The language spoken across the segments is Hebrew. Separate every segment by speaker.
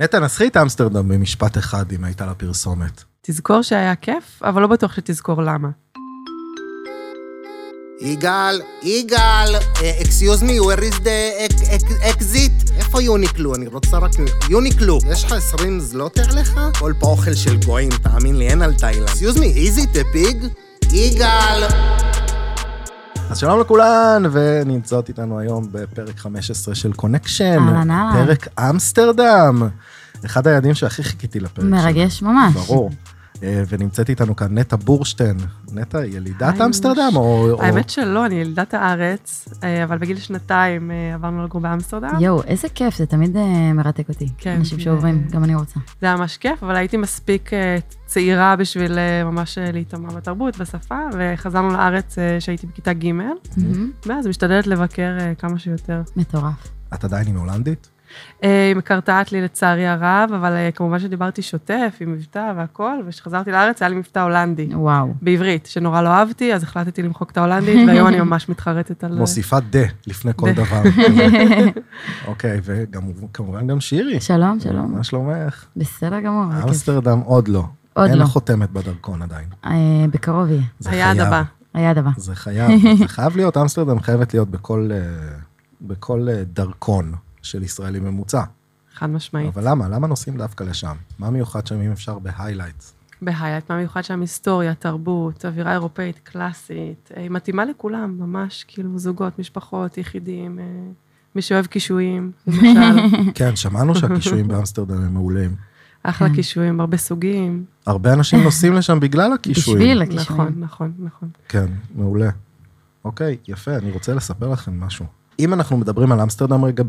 Speaker 1: נטע, נסחי את אמסטרדם במשפט אחד, אם הייתה לה פרסומת.
Speaker 2: תזכור שהיה כיף, אבל לא בטוח שתזכור למה.
Speaker 3: יגאל, יגאל, אקסיוז מי, where is the exit? איפה יוניקלו? אני רוצה רק... יוניקלו. יש לך 20 זלוטה עליך? כל פה אוכל של גויים, תאמין לי, אין על תאילנד. אקסיוז מי, is it a pig? יגאל.
Speaker 1: אז שלום לכולן, ונמצאות איתנו היום בפרק 15 של קונקשן.
Speaker 4: אהלן, אהלן.
Speaker 1: פרק אמסטרדם. אחד היעדים שהכי חיכיתי לפרק שלו.
Speaker 4: מרגש ממש.
Speaker 1: ברור. אה, ונמצאת איתנו כאן נטע בורשטיין. נטע, היא ילידת
Speaker 2: היי,
Speaker 1: אמסטרדם או... או-
Speaker 2: האמת שלא, אני ילידת הארץ, אה, אבל בגיל שנתיים אה, עברנו לגור באמסטרדם.
Speaker 4: יואו, איזה כיף, זה תמיד אה, מרתק אותי.
Speaker 2: כן,
Speaker 4: כן. אנשים
Speaker 2: זה-
Speaker 4: שעוברים, גם אני רוצה.
Speaker 2: זה היה ממש כיף, אבל הייתי מספיק אה, צעירה בשביל אה, ממש אה, להיטמע בתרבות, בשפה, וחזרנו לארץ אה, שהייתי בכיתה ג',
Speaker 4: מהמם.
Speaker 2: ואז משתדלת לבקר אה, כמה שיותר.
Speaker 4: מטורף.
Speaker 1: את עדיין עם הולנדית?
Speaker 2: אה, היא מקרטעת לי לצערי הרב, אבל אה, כמובן שדיברתי שוטף עם מבטא והכל, וכשחזרתי לארץ היה לי מבטא הולנדי.
Speaker 4: וואו.
Speaker 2: בעברית, שנורא לא אהבתי, אז החלטתי למחוק את ההולנדית, והיום אני ממש מתחרטת
Speaker 4: לא.
Speaker 2: על...
Speaker 1: מוסיפה דה לפני כל
Speaker 2: דה.
Speaker 1: דבר. כזה. אוקיי, וכמובן גם שירי.
Speaker 4: שלום, שלום.
Speaker 1: מה שלומך?
Speaker 4: בסדר גמור, זה כיף.
Speaker 1: אמסטרדם עוד לא.
Speaker 4: עוד
Speaker 1: אין
Speaker 4: לא.
Speaker 1: לך חותמת בדרכון עדיין.
Speaker 4: אה, בקרוב יהיה.
Speaker 1: זה
Speaker 2: היעד
Speaker 1: חייב.
Speaker 2: הבא.
Speaker 4: היה דבר.
Speaker 1: זה חייב, זה חייב להיות, אמסטרדם חייבת להיות בכל, אה, בכל אה, דרכון של ישראלי ממוצע.
Speaker 2: חד משמעית.
Speaker 1: אבל למה? למה נוסעים דווקא לשם? מה מיוחד שם, אם אפשר, בהיילייט?
Speaker 2: בהיילייט, מה מיוחד שם? היסטוריה, תרבות, אווירה אירופאית קלאסית. אה, היא מתאימה לכולם, ממש, כאילו, זוגות, משפחות, יחידים, אה, מי שאוהב קישואים, למשל,
Speaker 1: כן, שמענו שהקישואים באמסטרדם הם מעולים.
Speaker 2: אחלה
Speaker 4: כן.
Speaker 2: קישואים, הרבה סוגים.
Speaker 1: הרבה אנשים נוסעים לשם בגלל הקישואים.
Speaker 4: בשביל
Speaker 2: נכון,
Speaker 4: הקישואים.
Speaker 2: נכון, נכון.
Speaker 1: כן, מעולה. אוקיי, יפה, אני רוצה לספר לכם משהו. אם אנחנו מדברים על אמסטרדם רגע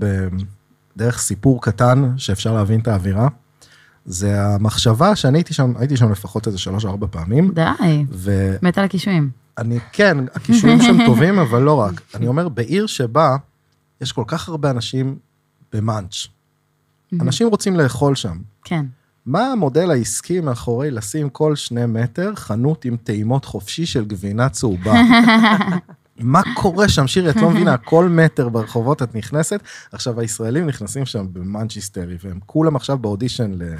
Speaker 1: בדרך סיפור קטן, שאפשר להבין את האווירה, זה המחשבה שאני הייתי שם, הייתי שם לפחות איזה שלוש-ארבע פעמים,
Speaker 4: די.
Speaker 1: ו...
Speaker 4: מת על הקישואים.
Speaker 1: אני, כן, הכישורים שם טובים, אבל לא רק. אני אומר, בעיר שבה יש כל כך הרבה אנשים במאנץ', אנשים רוצים לאכול שם.
Speaker 4: כן.
Speaker 1: מה המודל העסקי מאחורי לשים כל שני מטר חנות עם טעימות חופשי של גבינה צהובה? מה קורה שם, שירי? את לא מבינה, כל מטר ברחובות את נכנסת. עכשיו, הישראלים נכנסים שם במאנץ' היסטרי, והם כולם עכשיו באודישן ל...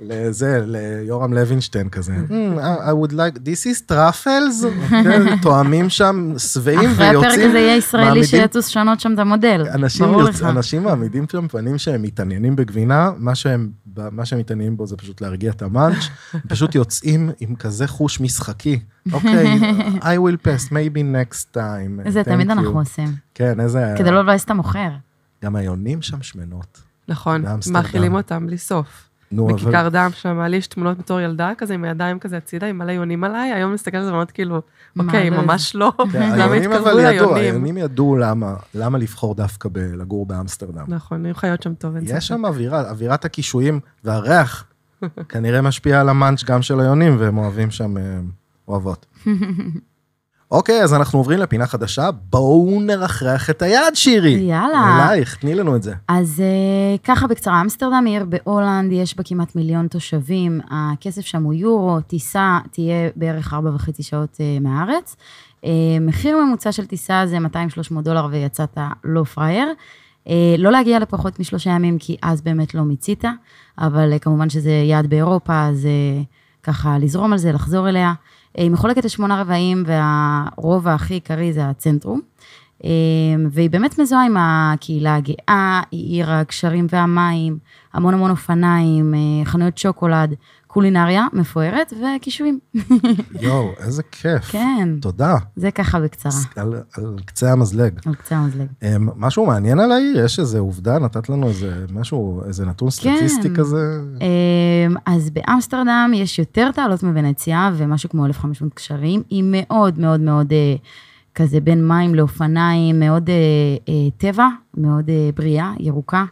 Speaker 1: לזה, ליורם לוינשטיין כזה. "Hmm, I would like, this is truffles? כן, תואמים שם, שבעים
Speaker 4: אחרי הפרק
Speaker 1: ויוצאים.
Speaker 4: הזה יהיה ישראלי
Speaker 1: מעמידים-
Speaker 4: שיצוס שנות שם את המודל.
Speaker 1: אנשים,
Speaker 4: ברור
Speaker 1: יוצ...
Speaker 4: לך.
Speaker 1: אנשים מעמידים שם פנים שהם מתעניינים בגבינה, מה שהם, מה שהם מתעניינים בו זה פשוט להרגיע את המאנץ', הם פשוט יוצאים עם כזה חוש משחקי. אוקיי, I will pass, maybe next time.
Speaker 4: זה
Speaker 1: Thank
Speaker 4: תמיד
Speaker 1: you.
Speaker 4: אנחנו עושים.
Speaker 1: כן, איזה...
Speaker 4: כדי לא לבאס את המוכר.
Speaker 1: גם היונים שם שמנות.
Speaker 2: נכון,
Speaker 1: באמסטרדם.
Speaker 2: מאכילים אותם בלי סוף.
Speaker 1: נו, אבל...
Speaker 2: בכיכר דם שם, לי יש תמונות בתור ילדה כזה, עם הידיים כזה הצידה, עם מלא יונים עליי, היום מסתכלת על זה ואומרת כאילו,
Speaker 4: מה,
Speaker 2: אוקיי,
Speaker 4: לא יודע."
Speaker 2: ממש לא,
Speaker 1: כן,
Speaker 2: למה
Speaker 1: היונים
Speaker 2: התקרבו
Speaker 1: אבל ידעו,
Speaker 2: ליונים?
Speaker 1: היונים ידעו למה, למה לבחור דווקא בלגור באמסטרדם.
Speaker 2: נכון, היו חיות שם טוב, אין
Speaker 1: יש
Speaker 2: ספק.
Speaker 1: שם אווירה, אווירת הקישואים והריח כנראה משפיע על המאנץ' גם של היונים, והם אוהבים שם, אה, אוהבות. אוקיי, אז אנחנו עוברים לפינה חדשה, בואו נרחרח את היד, שירי.
Speaker 4: יאללה.
Speaker 1: אלייך, תני לנו את זה.
Speaker 4: אז אה, ככה בקצרה, אמסטרדם היא עיר בהולנד, יש בה כמעט מיליון תושבים, הכסף שם הוא יורו, טיסה תהיה בערך ארבע וחצי שעות אה, מהארץ. אה, מחיר ממוצע של טיסה זה 200-300 דולר ויצאת לא פראייר. אה, לא להגיע לפחות משלושה ימים, כי אז באמת לא מיצית, אבל אה, כמובן שזה יעד באירופה, אז אה, ככה לזרום על זה, לחזור אליה. אה, היא מחולקת לשמונה רבעים, והרובע הכי עיקרי זה הצנטרום. אה, והיא באמת מזוהה עם הקהילה הגאה, היא עיר הגשרים והמים, המון המון אופניים, אה, חנויות שוקולד, קולינריה מפוארת וקישואים.
Speaker 1: יואו, איזה כיף.
Speaker 4: כן,
Speaker 1: תודה.
Speaker 4: זה ככה בקצרה,
Speaker 1: על, על קצה המזלג.
Speaker 4: על קצה המזלג.
Speaker 1: אמ, משהו מעניין על העיר? יש איזה עובדה? נתת לנו איזה משהו, איזה נתון סטטיסטי כזה?
Speaker 4: אמ, אז באמסטרדם יש יותר תעלות מוונציה ומשהו כמו 1,500 קשרים. היא מאוד מאוד מאוד אה, כזה בין מים לאופניים, מאוד אה, אה, טבע, מאוד אה, בריאה, ירוקה.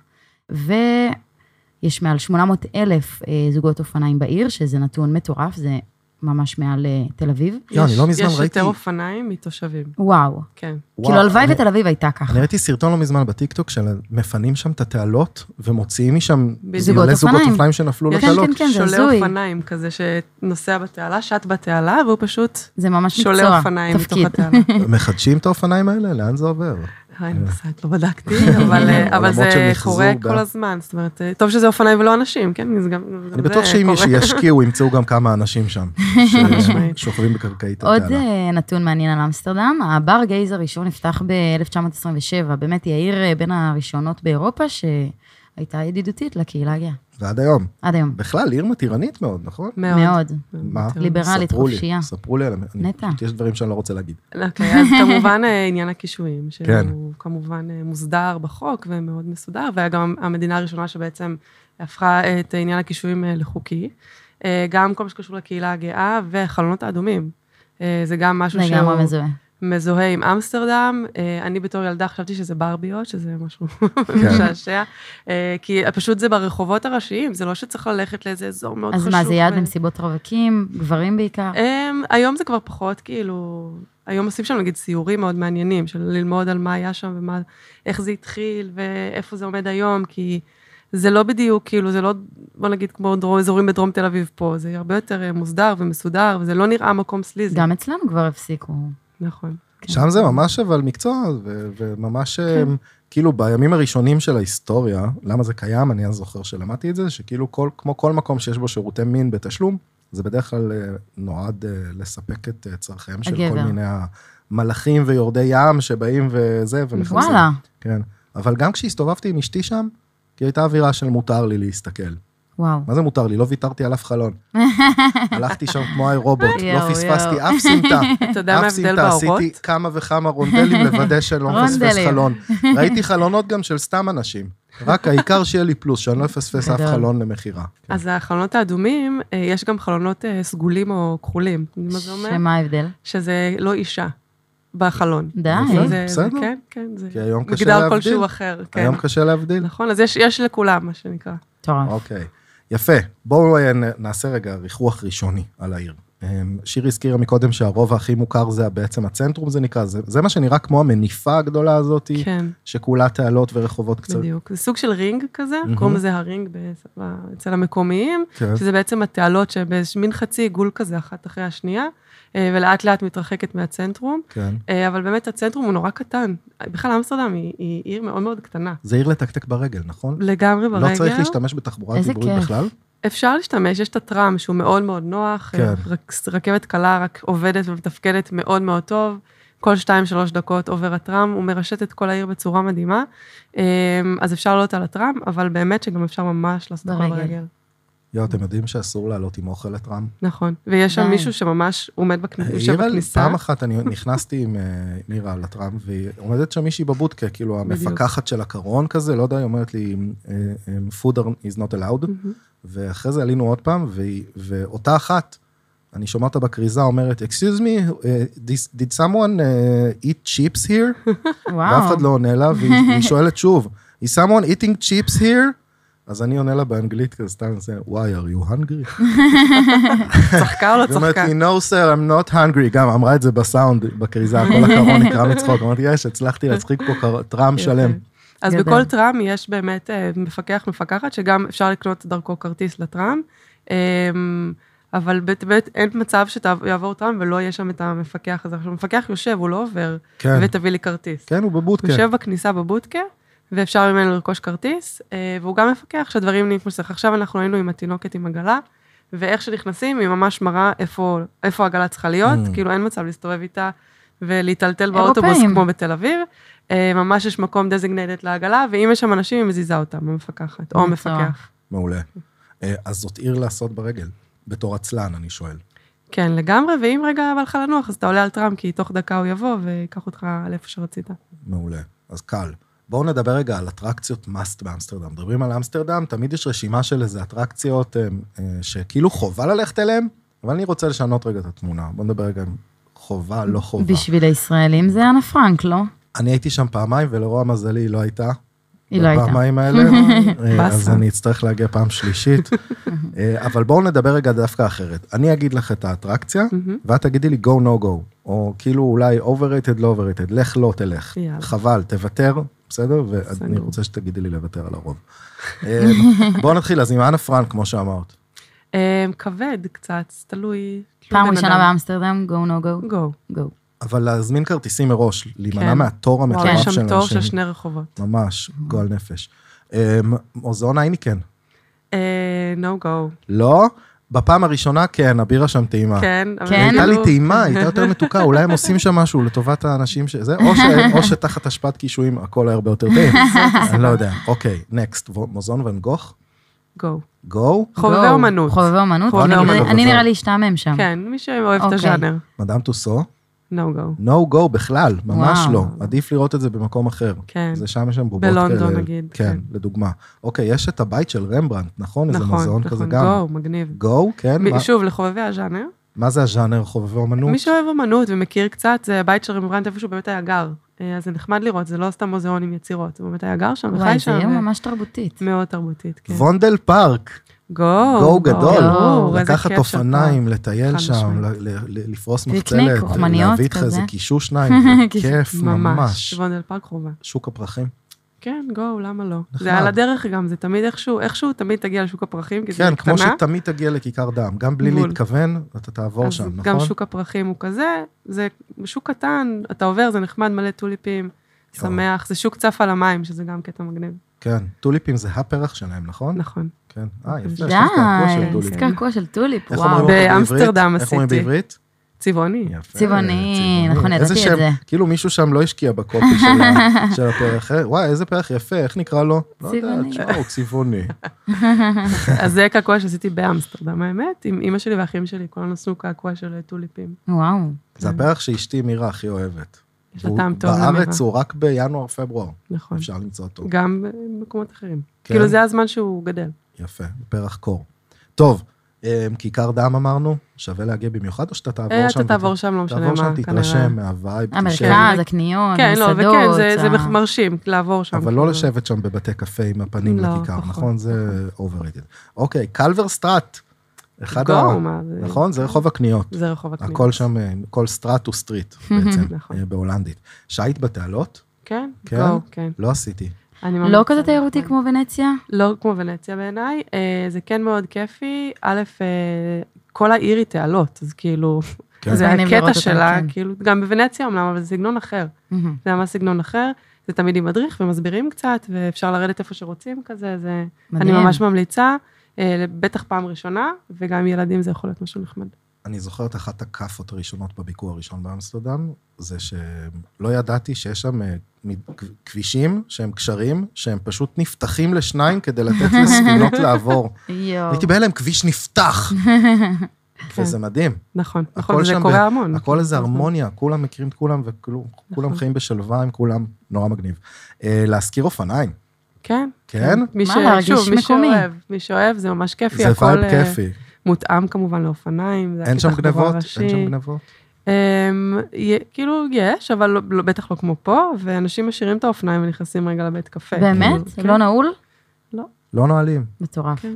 Speaker 4: ויש מעל 800 אלף אה, זוגות אופניים בעיר, שזה נתון מטורף, זה ממש מעל אה, תל אביב.
Speaker 1: לא, אני
Speaker 2: יש-
Speaker 1: לא מזמן
Speaker 2: יש
Speaker 1: ראיתי-
Speaker 2: יותר אופניים מתושבים,
Speaker 4: וואו.
Speaker 2: כן.
Speaker 1: וואו,
Speaker 4: כאילו, הלוואי
Speaker 1: אני-
Speaker 4: ותל אביב הייתה ככה.
Speaker 1: אני ראיתי סרטון לא מזמן בטיקטוק של מפנים שם את התעלות ומוציאים משם
Speaker 2: בדיוק.
Speaker 1: מלא זוגות
Speaker 4: אופניים.
Speaker 1: אופניים שנפלו
Speaker 2: יש
Speaker 1: לתעלות.
Speaker 4: כן, כן, זה
Speaker 2: שולה
Speaker 4: הזוי.
Speaker 2: אופניים כזה שנוסע בתעלה, שט בתעלה, והוא פשוט
Speaker 4: זה ממש מקצוע,
Speaker 2: שולה אופניים מתוך
Speaker 4: תפקיד.
Speaker 2: התעלה.
Speaker 1: מחדשים את האופניים האלה? לאן זה עובר?
Speaker 2: אה, אין לי מושג, לא בדקתי, אבל, אה, אבל
Speaker 1: עולמות של
Speaker 2: זה
Speaker 1: מחזור
Speaker 2: קורה
Speaker 1: ב-
Speaker 2: כל הזמן, זאת אומרת, אה, טוב שזה אופניים ולא אנשים, כן? זה גם, גם
Speaker 1: אני
Speaker 2: זה
Speaker 1: בטוח שאם
Speaker 2: קורה.
Speaker 1: ישקיעו, ימצאו גם כמה אנשים שם,
Speaker 2: משמעית.
Speaker 1: ששוכבים בקרקעית
Speaker 4: עוד
Speaker 1: התעלה.
Speaker 4: אה, נתון מעניין על אמסטרדם, הבר גייז הראשון נפתח ב-1927, באמת היא העיר אה, בין הראשונות באירופה שהייתה ידידותית לקהילה הגאה,
Speaker 1: ועד היום.
Speaker 4: עד היום.
Speaker 1: בכלל, עיר מתירנית מאוד, נכון?
Speaker 2: מאוד.
Speaker 4: מאוד.
Speaker 1: מה?
Speaker 4: ליברלית,
Speaker 1: ספרו לי,
Speaker 4: חופשייה.
Speaker 1: ספרו לי על... אני-
Speaker 4: נטע.
Speaker 1: פשוט יש דברים שאני לא רוצה להגיד.
Speaker 2: אוקיי, אז כמובן אה, עניין הכישויים,
Speaker 1: כן.
Speaker 2: שהוא כמובן אה, מוסדר בחוק ומאוד מסודר, וגם המדינה הראשונה שבעצם הפכה את עניין הכישויים אה, לחוקי. אה, גם כל מה שקשור לקהילה הגאה והחלונות האדומים. אה, זה גם משהו שהוא...
Speaker 4: לגמרי מזוהה.
Speaker 2: מזוהה עם אמסטרדם. אה, אני בתור ילדה חשבתי שזה ברביות, שזה משהו משעשע. אה, כי פשוט זה ברחובות הראשיים, זה לא שצריך ללכת לאיזה אזור מאוד
Speaker 4: אז
Speaker 2: חשוב. אה.
Speaker 4: מה, זה יעד
Speaker 2: ו-
Speaker 4: למסיבות רווקים, גברים בעיקר?
Speaker 2: אמ, היום זה כבר פחות, כאילו, היום עושים שם נגיד סיורים מאוד מעניינים, של ללמוד על מה היה שם ומה, איך זה התחיל ואיפה זה עומד היום, כי זה לא בדיוק, כאילו, זה לא, בוא נגיד, כמו דרום, אזורים בדרום תל אביב פה, זה הרבה יותר אה, מוסדר ומסודר, וזה לא נראה מקום סליזי.
Speaker 4: גם אצלנו כבר הפסיקו.
Speaker 2: נכון.
Speaker 4: כן.
Speaker 1: שם זה ממש אבל מקצוע, ו- וממש כן. כאילו בימים הראשונים של ההיסטוריה, למה זה קיים, אני אז זוכר שלמדתי את זה, שכאילו כל, כמו כל מקום שיש בו שירותי מין בתשלום, זה בדרך כלל אה, נועד אה, לספק את אה, צורכיהם של כל
Speaker 4: הגבר.
Speaker 1: מיני המלאכים ויורדי ים שבאים וזה, ומחפשים.
Speaker 4: וואלה,
Speaker 1: כן. אבל גם כשהסתובבתי עם אשתי שם, כי הייתה אווירה של מותר לי להסתכל.
Speaker 4: וואו.
Speaker 1: מה זה מותר לי? לא ויתרתי על אף חלון. הלכתי שם כמו האירובוט, לא
Speaker 4: יואו,
Speaker 1: פספסתי
Speaker 4: יואו.
Speaker 1: אף סמטה.
Speaker 2: אתה יודע מה
Speaker 1: אף
Speaker 2: ההבדל
Speaker 1: סמטה,
Speaker 2: באורות?
Speaker 1: עשיתי כמה וכמה רונדלים לוודא שאני לא מפספס
Speaker 4: רונדלים.
Speaker 1: חלון. ראיתי חלונות גם של סתם אנשים. רק העיקר שיהיה לי פלוס, שאני לא אפספס אף
Speaker 4: גדול.
Speaker 1: חלון למכירה.
Speaker 2: אז החלונות האדומים, אה, יש גם חלונות אה, סגולים או כחולים. אתם יודעים מה זה אומר?
Speaker 4: שמה ההבדל?
Speaker 2: שזה לא אישה בחלון.
Speaker 4: די.
Speaker 1: אוקיי.
Speaker 2: זה- זה-
Speaker 1: בסדר.
Speaker 2: כן, כן, זה
Speaker 1: כי היום קשה
Speaker 2: מגדר
Speaker 1: להבדיל.
Speaker 2: כלשהו אחר. כן.
Speaker 1: היום קשה להבדיל.
Speaker 2: נכון, אז יש, יש לכולם, מה שנקרא.
Speaker 4: מטורף.
Speaker 1: אוקיי, יפה. בואו אה, נ- נעשה רגע ריחוח ראשוני על העיר. אמ, שירי הזכירה מקודם שהרובע הכי מוכר זה בעצם הצנטרום, זה נקרא, זה, זה מה שנראה כמו המניפה הגדולה הזאת,
Speaker 2: כן,
Speaker 1: שכולה תעלות ורחובות קצרים.
Speaker 2: בדיוק. זה סוג של רינג כזה,
Speaker 1: מהמם.
Speaker 2: קוראים לזה הרינג בשפה- אצל המקומיים,
Speaker 1: כן.
Speaker 2: שזה בעצם התעלות שבמין חצי עיגול כזה, אחת אחרי השנייה, אה, ולאט לאט מתרחקת מהצנטרום.
Speaker 1: כן.
Speaker 2: אה, אבל באמת הצנטרום הוא נורא קטן. בכלל, אמסטרדם היא, היא עיר מאוד מאוד קטנה.
Speaker 1: זה עיר לתקתק ברגל, נכון?
Speaker 2: לגמרי ברגל.
Speaker 1: לא צריך להשתמש בתחבורה
Speaker 4: איזה
Speaker 1: ציבורית
Speaker 4: כיף.
Speaker 1: בכלל?
Speaker 2: אפשר להשתמש, יש את הטראם שהוא מאוד מאוד נוח,
Speaker 1: כן.
Speaker 2: כן. רק, רכבת קלה רק עובדת ומתפקדת מאוד מאוד טוב, כל 2-3 דקות עובר הטראם, הוא מרשת את כל העיר בצורה מדהימה, אמ, אז אפשר לעלות על הטראם, אבל באמת שגם אפשר ממש לעשות הכל
Speaker 4: ברגל.
Speaker 2: ברגל.
Speaker 1: יואו, אתם יודעים שאסור לעלות עם אוכל לטראם?
Speaker 2: נכון, ויש שם
Speaker 4: די.
Speaker 2: מישהו שממש עומד בכניסה, יושב
Speaker 1: העירה לי,
Speaker 2: בכניסה,
Speaker 1: פעם אחת אני נכנסתי עם אה, מירה על הטראם, והיא עומדת שם מישהי בבודקה, כאילו
Speaker 2: בדיוק.
Speaker 1: המפקחת של הקרון כזה, לא יודע, היא אומרת לי, אה, אה, food are- is not allowed,
Speaker 2: מהמם.
Speaker 1: ואחרי זה עלינו עוד פעם, והיא- ואותה אחת, אני שומע אותה בכריזה אומרת, Excuse me, אה, this- did someone אה, eat chips here? ואף
Speaker 4: וואו.
Speaker 1: אחד לא עונה לה, והיא והיא שואלת שוב, is someone eating chips here? אז אני עונה לה באנגלית כזה, סתם זה, וואי, are you hungry?
Speaker 2: צחקה או לא
Speaker 1: היא אומרת
Speaker 2: צחקה?
Speaker 1: לי, no sir, I'm not hungry, גם אמרה את זה בסאונד, בכריזה, כל הקרון נקרע מצחוק. אמרתי, יש, הצלחתי להצחיק פה קר- טראם
Speaker 2: יפה.
Speaker 1: שלם.
Speaker 2: אז
Speaker 4: גדל.
Speaker 2: בכל טראם יש באמת אה, מפקח, מפקחת, שגם אפשר לקנות דרכו כרטיס לטראם, אמ, אבל באמת אין מצב שיעבור טראם ולא יהיה שם את המפקח הזה. עכשיו, המפקח יושב, הוא לא עובר,
Speaker 1: כן,
Speaker 2: ותביא לי כרטיס.
Speaker 1: כן, הוא
Speaker 2: הוא
Speaker 1: בבודקה.
Speaker 2: יושב בכניסה בבודקה, ואפשר ממנו לרכוש כרטיס, אה, והוא גם מפקח שהדברים נהיים כמו שצריך. עכשיו אנחנו היינו עם התינוקת עם עגלה, ואיך שנכנסים, היא ממש מראה איפה איפה העגלה צריכה להיות,
Speaker 1: Mm.
Speaker 2: כאילו אין מצב להסתובב איתה ולהיטלטל באוטובוס
Speaker 4: אירופאים.
Speaker 2: כמו בתל אביב. אה, ממש יש מקום דזיגנטד לעגלה, ואם יש שם אנשים, היא מזיזה אותם, המפקחת, או
Speaker 4: מטורף.
Speaker 2: המפקח.
Speaker 1: מעולה. אה, אז זאת עיר לעשות ברגל, בתור עצלן, אני שואל.
Speaker 2: כן, לגמרי, ואם רגע בא לך לנוח, אז אתה עולה על טראם, כי תוך דקה הוא יבוא ויקח אותך לאיפה שרצית.
Speaker 1: מעולה, אז קל. בואו נדבר רגע על אטרקציות must באמסטרדם. מדברים על אמסטרדם, תמיד יש רשימה של איזה אטרקציות אה, אה, שכאילו חובה ללכת אליהן, אבל אני רוצה לשנות רגע את התמונה. בואו נדבר רגע עם חובה, לא חובה.
Speaker 4: בשביל הישראלים זה אנה פרנק, לא?
Speaker 1: אני הייתי שם פעמיים, ולרוע מזלי היא לא הייתה.
Speaker 4: היא לא הייתה.
Speaker 1: בפעמיים האלה, אה, אז
Speaker 2: באסה.
Speaker 1: אני אצטרך להגיע פעם שלישית. אה, אבל בואו נדבר רגע דווקא אחרת. אני אגיד לך את האטרקציה,
Speaker 2: מהמם.
Speaker 1: ואת תגידי לי go no go, או כאילו אולי overrated, לא overrated, לך לא תלך.
Speaker 2: יאללה.
Speaker 1: חבל, תוותר, בסדר? ואני
Speaker 2: בסדר.
Speaker 1: רוצה שתגידי לי לוותר על הרוב. אה, בואו נתחיל, אז עם אנה פרנק, כמו שאמרת.
Speaker 2: אה, כבד קצת, תלוי. תלוי
Speaker 4: פעם
Speaker 2: בן
Speaker 4: ראשונה
Speaker 2: אדם.
Speaker 4: באמסטרדם, go no go,
Speaker 2: גו.
Speaker 4: go.
Speaker 1: אבל להזמין כרטיסים מראש, להימנע
Speaker 2: כן. Mm.
Speaker 1: מהתור
Speaker 2: וואו,
Speaker 1: המטורף
Speaker 2: יש
Speaker 1: של אנשים.
Speaker 2: שם תור של שני רחובות.
Speaker 1: ממש, גועל נפש. אה, מוזיאון הייניקן.
Speaker 2: נו גו.
Speaker 1: כן. לא? בפעם הראשונה, כן, הבירה שם טעימה.
Speaker 2: כן, אבל
Speaker 1: היא
Speaker 4: כן.
Speaker 1: הייתה לי
Speaker 2: כאילו-
Speaker 1: טעימה, היא הייתה יותר מתוקה, אולי הם עושים שם משהו לטובת האנשים ש... זה, או, ש... או שתחת השפעת קישואים הכל היה הרבה יותר טעים. אני לא יודע. אוקיי, נקסט, מוזיאון ואן גוך,
Speaker 2: גו.
Speaker 1: גו,
Speaker 2: חובבי
Speaker 4: גו,
Speaker 2: אומנות.
Speaker 4: לא, חובבי אומנות,
Speaker 2: חובבי
Speaker 4: אני-
Speaker 2: אומנות.
Speaker 4: אני נראה לי אשתעמם שם.
Speaker 2: כן, מי שאוהב את
Speaker 4: אוקיי.
Speaker 2: הז'אנר.
Speaker 1: מדאם טוסו,
Speaker 2: נו גו.
Speaker 1: נו גו בכלל, ממש
Speaker 4: וואו.
Speaker 1: לא. עדיף לראות את זה במקום אחר.
Speaker 2: כן.
Speaker 1: זה שם יש שם בובות כאלה.
Speaker 2: בלונדון, נגיד,
Speaker 1: כן,
Speaker 2: כן.
Speaker 1: לדוגמה. אוקיי, יש את הבית של רמברנט, נכון? איזה
Speaker 2: נכון,
Speaker 1: מוזיאון כזה
Speaker 2: נכון,
Speaker 1: גם.
Speaker 2: גו, מגניב.
Speaker 1: גו, כן?
Speaker 2: מי-
Speaker 1: מה-
Speaker 2: שוב, לחובבי הז'אנר,
Speaker 1: מה זה הז'אנר חובבי אומנות?
Speaker 2: מי שאוהב אומנות ומכיר קצת, זה הבית של רמברנט איפה שהוא באמת היה גר. אה, אז זה נחמד לראות, זה לא סתם מוזיאון עם יצירות, הוא באמת היה גר שם,
Speaker 4: וואי,
Speaker 2: וחי
Speaker 4: זה
Speaker 2: שם,
Speaker 4: עיר
Speaker 2: ו-
Speaker 4: ממש תרבותית.
Speaker 2: מאוד תרבותית, כן.
Speaker 1: וונדל פארק,
Speaker 2: גו,
Speaker 1: גו גדול.
Speaker 2: ברור, איזה
Speaker 1: לקחת
Speaker 2: כיף שאתה.
Speaker 1: אופניים, לטייל
Speaker 2: חד
Speaker 1: שם,
Speaker 2: משמעית.
Speaker 1: ל- ל- ל- לפרוס
Speaker 4: פיקניק,
Speaker 1: מחצלת,
Speaker 4: לוחמניות
Speaker 1: להביא איתך איזה
Speaker 4: כזה.
Speaker 1: קישוש שניים, זה כיף
Speaker 2: ממש,
Speaker 1: ממש.
Speaker 2: וונדל פארק חובה.
Speaker 1: שוק הפרחים.
Speaker 2: כן, גו, למה לא?
Speaker 1: נחמד.
Speaker 2: זה על הדרך גם, זה תמיד איכשהו, איכשהו תמיד תגיע לשוק הפרחים, כי זה
Speaker 1: כן,
Speaker 2: קטנה.
Speaker 1: כמו שתמיד תגיע לכיכר דם, גם בלי
Speaker 2: בול.
Speaker 1: להתכוון, אתה תעבור שם,
Speaker 2: אז
Speaker 1: נכון?
Speaker 2: גם שוק הפרחים הוא כזה, זה שוק קטן, אתה עובר, זה נחמד, מלא טוליפים, שמח, זה שוק צף על המים, שזה גם קטע מגניב.
Speaker 1: כן, טוליפים זה הפרח שלהם, נכון?
Speaker 2: נכון.
Speaker 1: כן. אה, יפה, יש
Speaker 4: די,
Speaker 1: לי קעקוע של
Speaker 4: זה
Speaker 1: טוליפים.
Speaker 4: קעקוע של טוליפ,
Speaker 1: איך
Speaker 4: וואו.
Speaker 1: אומרים אותו בעברית?
Speaker 2: כן. באמסטרדם
Speaker 1: איך אומרים
Speaker 2: עשיתי.
Speaker 1: בעברית?
Speaker 2: צבעוני.
Speaker 1: יפה.
Speaker 4: צבעוני, נכון,
Speaker 1: איזה
Speaker 4: ידעתי את
Speaker 1: שם,
Speaker 4: זה.
Speaker 1: כאילו מישהו שם לא השקיע בקופי של ה- של הפרח. אה, וואי, איזה פרח יפה, איך נקרא לו? לא יודע,
Speaker 4: צבעוני.
Speaker 1: תשמע, הוא צבעוני.
Speaker 2: אז זה קעקוע שעשיתי באמסטרדם, האמת, עם אימא שלי ואחים שלי, כולנו עשו קעקוע של טוליפים.
Speaker 4: וואו.
Speaker 1: זה הפרח שאשתי מירה הכי אוהבת.
Speaker 2: יש לה
Speaker 1: והוא-
Speaker 2: כן. טעם טוב
Speaker 1: בארץ
Speaker 2: למירה.
Speaker 1: הוא רק בינואר-פברואר,
Speaker 2: נכון.
Speaker 1: אפשר למצוא אותו.
Speaker 2: גם במקומות אחרים.
Speaker 1: כן.
Speaker 2: כאילו זה הזמן שהוא גדל.
Speaker 1: יפה, פרח קור. טוב, אה, כיכר דם אמרנו, שווה להגיע במיוחד, או שאתה
Speaker 2: אה,
Speaker 1: תעבור שם?
Speaker 2: אתה תעבור שם, לא משנה מה.
Speaker 1: תעבור שם,
Speaker 2: כנראה.
Speaker 1: תתרשם מהווייב,
Speaker 4: אה,
Speaker 1: תשב,
Speaker 4: המרכז, הקניות,
Speaker 2: כן, לא,
Speaker 4: המסעדות.
Speaker 2: וכן, זה- זה
Speaker 4: ה-
Speaker 2: מרשים לעבור שם.
Speaker 1: אבל
Speaker 2: כאילו.
Speaker 1: לא לשבת שם בבתי קפה עם הפנים
Speaker 2: לא,
Speaker 1: לכיכר,
Speaker 2: פחות,
Speaker 1: נכון? זה overrated. אוקיי, קלבר סטראט. אחד ה...
Speaker 2: גו, מה זה?
Speaker 1: נכון? זה רחוב הקניות.
Speaker 2: זה רחוב הקניות.
Speaker 1: הכל שם, אה, כל סטראט הוא סטריט בעצם,
Speaker 2: נכון.
Speaker 1: אה, בהולנדית. שיט בתעלות?
Speaker 2: כן,
Speaker 1: כן?
Speaker 2: גו, כן.
Speaker 1: לא עשיתי.
Speaker 2: אני
Speaker 4: לא
Speaker 2: ממליצה
Speaker 4: כזה
Speaker 2: לכם.
Speaker 4: תיירותי כמו ונציה?
Speaker 2: לא כמו ונציה בעיניי, אה, זה כן מאוד כיפי. א', אה, כל העיר היא תעלות, אז כאילו,
Speaker 1: כן.
Speaker 2: זה
Speaker 4: מגניב לראות
Speaker 2: הקטע
Speaker 4: אותה,
Speaker 2: שלה,
Speaker 4: כן.
Speaker 2: כאילו, גם בוונציה אמנם, אבל זה סגנון אחר. זה ממש סגנון אחר, זה תמיד עם מדריך ומסבירים קצת, ואפשר לרדת איפה שרוצים כזה, זה...
Speaker 4: מדהים.
Speaker 2: אני ממש ממליצה, אה, בטח פעם ראשונה, וגם עם ילדים זה יכול להיות משהו נחמד.
Speaker 1: אני זוכר את אחת הכאפות הראשונות בביקור הראשון באמסטרדם, זה שלא ידעתי שיש שם אה, מ- כ- כבישים שהם קשרים, שהם פשוט נפתחים לשניים כדי לתת לספינות לעבור.
Speaker 4: יואו.
Speaker 1: הייתי בהלם, כביש נפתח! וזה מדהים.
Speaker 2: נכון,
Speaker 1: הכל
Speaker 2: נכון, זה
Speaker 1: שם ב-
Speaker 2: קורה המון.
Speaker 1: הכל איזה
Speaker 2: נכון.
Speaker 1: הרמוניה, כולם מכירים את כולם, וכולם
Speaker 2: נכון.
Speaker 1: חיים בשלווה עם כולם, נורא מגניב. אה, להזכיר אופניים,
Speaker 2: כן.
Speaker 1: כן?
Speaker 2: מי
Speaker 4: מה,
Speaker 2: ש...
Speaker 4: להרגיש
Speaker 2: שוב, מי
Speaker 4: מקומי.
Speaker 2: שאוהב, מי שאוהב, זה ממש כיפי.
Speaker 1: זה
Speaker 2: הכל,
Speaker 1: וייב
Speaker 2: אה,
Speaker 1: כיפי.
Speaker 2: מותאם כמובן לאופניים. זה
Speaker 1: אין שם
Speaker 2: הכי תחבורה
Speaker 1: גנבות? אין
Speaker 2: ראשית.
Speaker 1: שם גנבות?
Speaker 2: אמ, י- כאילו, יש, אבל לא- לא- בטח לא כמו פה, ואנשים משאירים את האופניים ונכנסים רגע לבית קפה.
Speaker 4: באמת?
Speaker 2: כאילו, כן,
Speaker 4: לא נעול?
Speaker 1: לא נועלים.
Speaker 4: מטורף.
Speaker 2: כן.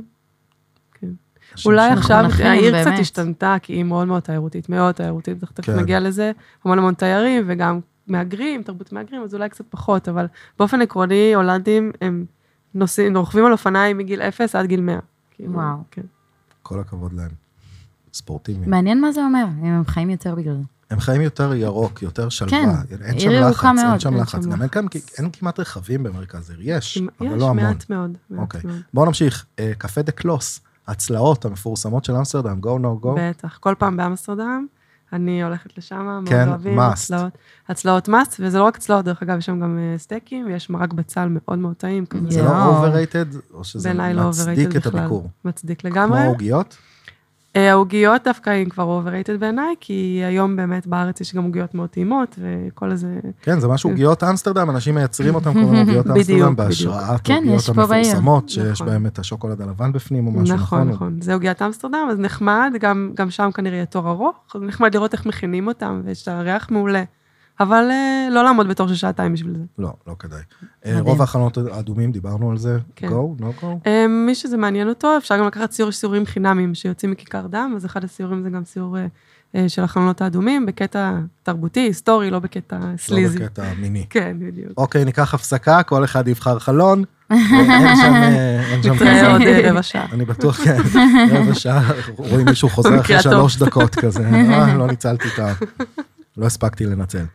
Speaker 2: אולי
Speaker 1: שם-
Speaker 2: עכשיו
Speaker 4: מחונכים,
Speaker 2: העיר קצת
Speaker 4: לא באמת.
Speaker 2: השתנתה, כי היא מאוד מאוד תיירותית, מאוד תיירותית, בטח תכף
Speaker 1: כן.
Speaker 2: נגיע לזה, המון המון תיירים וגם מהגרים, תרבות מהגרים, אז אולי קצת פחות, אבל באופן עקרוני, הולנדים הם נוסעים, רוכבים על אופניים מגיל 0 עד גיל 100. כאילו,
Speaker 4: וואו.
Speaker 2: כן.
Speaker 1: כל הכבוד להם. ספורטיביים.
Speaker 4: מעניין מה זה אומר, אם הם חיים יותר בגלל זה.
Speaker 1: הם חיים יותר ירוק, יותר שלווה.
Speaker 4: כן,
Speaker 1: אין שם
Speaker 4: עיר
Speaker 1: לחץ,
Speaker 4: ירוקה
Speaker 1: אין
Speaker 4: מאוד,
Speaker 1: שם
Speaker 2: אין
Speaker 1: לחץ.
Speaker 2: שם
Speaker 1: גם אין
Speaker 2: לחץ.
Speaker 1: כאן- אין כמעט רכבים במרכז עיר, יש,
Speaker 2: יש,
Speaker 1: אבל לא המון.
Speaker 2: מעט מאוד, מעט
Speaker 1: אוקיי.
Speaker 2: מאוד.
Speaker 1: בואו נמשיך. אה, קפה דה קלוס, הצלעות המפורסמות של אמסטרדם, go no go.
Speaker 2: בטח, כל פעם באמסטרדם, אני הולכת לשם, מאוד
Speaker 1: כן,
Speaker 2: אוהבים,
Speaker 1: must.
Speaker 2: הצלעות, הצלעות מאסט, וזה לא רק הצלעות, דרך אגב, יש שם גם אה, סטייקים, ויש מרק בצל מאוד מאוד טעים, כזה,
Speaker 1: זה
Speaker 4: יואו.
Speaker 1: לא overrated, או שזה
Speaker 2: בעיניי לא
Speaker 1: מצדיק
Speaker 2: overrated
Speaker 1: את
Speaker 2: בכלל,
Speaker 1: הביקור.
Speaker 2: מצדיק
Speaker 1: כמו
Speaker 2: לגמרי.
Speaker 1: עוגיות?
Speaker 2: אה, העוגיות דווקא הן כבר overrated בעיניי, כי היום באמת בארץ יש גם עוגיות מאוד טעימות, וכל איזה...
Speaker 1: כן, זה ממש עוגיות אמסטרדם, אנשים מייצרים אותם קוראים עוגיות
Speaker 2: בדיוק,
Speaker 1: אמסטרדם,
Speaker 2: בדיוק.
Speaker 1: בהשראת
Speaker 4: כן,
Speaker 1: עוגיות
Speaker 4: יש פה בעיר.
Speaker 1: המפורסמות, שיש
Speaker 2: נכון.
Speaker 1: בהם את השוקולד הלבן בפנים או משהו,
Speaker 2: נכון,
Speaker 1: נכון?
Speaker 2: נכון. זה עוגיית אמסטרדם, אז נחמד, גם, גם שם כנראה יהיה תור ארוך, אז נחמד לראות איך מכינים אותם, ויש את הריח מעולה. אבל אה, לא לעמוד בתור של שעתיים בשביל זה.
Speaker 1: לא, לא כדאי. אה,
Speaker 4: מדהים.
Speaker 1: רוב ההכנות האדומים, דיברנו על זה.
Speaker 2: כן.
Speaker 1: go, no go.
Speaker 2: אה, מי שזה מעניין אותו, אפשר גם לקחת סיור, יש סיורים חינמיים שיוצאים מכיכר דם, אז אחד הסיורים זה גם סיור אה, אה, של החלונות האדומים, בקטע תרבותי, היסטורי, לא בקטע סליזי.
Speaker 1: לא בקטע מיני.
Speaker 2: כן, בדיוק.
Speaker 1: אוקיי, ניקח הפסקה, כל אחד יבחר חלון. אין שם... אה, אין שם
Speaker 2: נתראה
Speaker 1: כזה.
Speaker 2: עוד אה, רבע שעה.
Speaker 1: אני בטוח, כן, רבע שעה, רואים מישהו חוזר אחרי
Speaker 2: במקרה הטוב.
Speaker 1: שלוש דקות כזה, אה, לא ניצלתי את ה... לא הספקתי לנצל.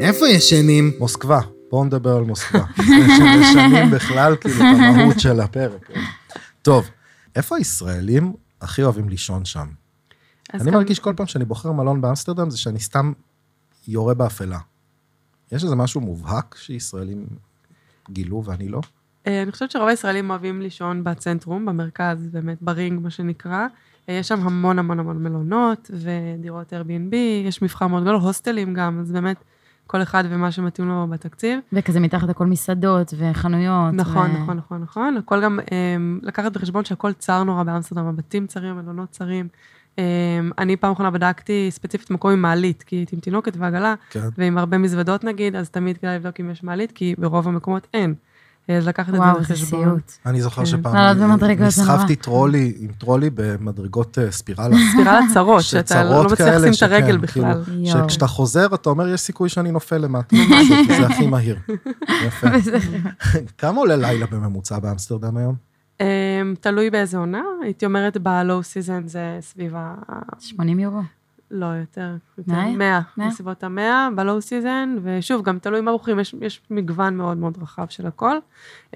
Speaker 3: איפה ישנים?
Speaker 1: מוסקבה, בואו נדבר על מוסקבה. לפני שמשנים בכלל כאילו את המהות של הפרק. טוב, איפה הישראלים הכי אוהבים לישון שם?
Speaker 2: אז
Speaker 1: אני
Speaker 2: גם-
Speaker 1: מרגיש כל פעם שאני בוחר מלון באמסטרדם, זה שאני סתם יורה באפלה. יש איזה משהו מובהק שישראלים גילו ואני לא?
Speaker 2: אה, אני חושבת שרוב הישראלים אוהבים לישון בצנטרום, במרכז, באמת, ברינג, מה שנקרא. אה, יש שם המון המון המון מלונות ודירות Airbnb, יש מבחר מאוד גדול, הוסטלים גם, אז באמת, כל אחד ומה שמתאים לו בתקציב.
Speaker 4: וכזה מתחת הכל מסעדות וחנויות.
Speaker 2: נכון,
Speaker 4: ו-
Speaker 2: נכון, נכון, נכון. הכל גם, אמ, לקחת בחשבון שהכל צר נורא באמסטרדם, הבתים צרים, המלונות צרים. אמ, אני פעם אחרונה בדקתי ספציפית מקום עם מעלית, כי הייתי עם תינוקת ועגלה,
Speaker 1: כן.
Speaker 2: ועם הרבה מזוודות נגיד, אז תמיד כדאי לבדוק אם יש מעלית, כי ברוב המקומות אין. אז לקחת את זה
Speaker 4: וואו, זה
Speaker 2: בחשבון.
Speaker 4: סיוט.
Speaker 1: אני זוכר
Speaker 2: כן.
Speaker 1: שפעם
Speaker 4: לעלות במדרגות זה נורא.
Speaker 1: נסחפתי טרולי, עם טרולי במדרגות אה, ספירלה.
Speaker 2: ספירה לצרות,
Speaker 1: של
Speaker 2: שאתה
Speaker 1: צרות
Speaker 2: לא מצליח
Speaker 1: כאלה
Speaker 2: לשים את הרגל
Speaker 1: שכן,
Speaker 2: בכלל.
Speaker 1: כאילו,
Speaker 4: יואו.
Speaker 1: שכשאתה חוזר, אתה אומר, יש סיכוי שאני נופל למטה, משהו, כי זה הכי מהיר. יפה. כמה עולה לילה בממוצע באמסטרדם היום?
Speaker 2: אמ, תלוי באיזה עונה, הייתי אומרת ב-low season זה סביב ה...
Speaker 4: 80 יורו.
Speaker 2: לא, יותר, יותר,
Speaker 4: מאה?
Speaker 2: 100,
Speaker 4: מאה?
Speaker 2: בסביבות ה-100 ב-low season, ושוב, גם תלוי מה בוחרים, יש, יש מגוון מאוד מאוד רחב של הכל,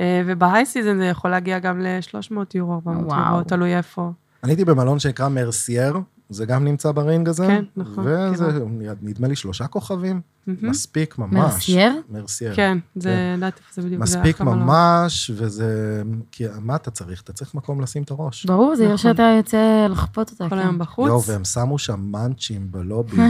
Speaker 2: אה, וב-high season זה יכול להגיע גם ל-300 יורו, 400
Speaker 4: וואו.
Speaker 2: יורו, תלוי איפה.
Speaker 1: אני הייתי במלון שנקרא מרסייר, זה גם נמצא ברינג הזה.
Speaker 2: כן, נכון,
Speaker 1: וזה, נדמה לי, שלושה כוכבים.
Speaker 2: מהמם.
Speaker 1: מספיק ממש.
Speaker 4: מרסייר?
Speaker 1: מרסייר.
Speaker 2: כן, זה, לדעת איפה זה בדיוק, זה
Speaker 1: מספיק
Speaker 2: אחלה מלון.
Speaker 1: ממש, וזה... כי מה אתה צריך? אתה צריך מקום לשים את הראש.
Speaker 4: ברור, זה עיר
Speaker 2: נכון.
Speaker 4: שאתה יוצא לחפות אותה.
Speaker 2: לא- כל
Speaker 4: כן.
Speaker 2: היום
Speaker 1: יואו,
Speaker 2: בחוץ.
Speaker 1: והם שמו שם מאנצ'ים בלובי. עיר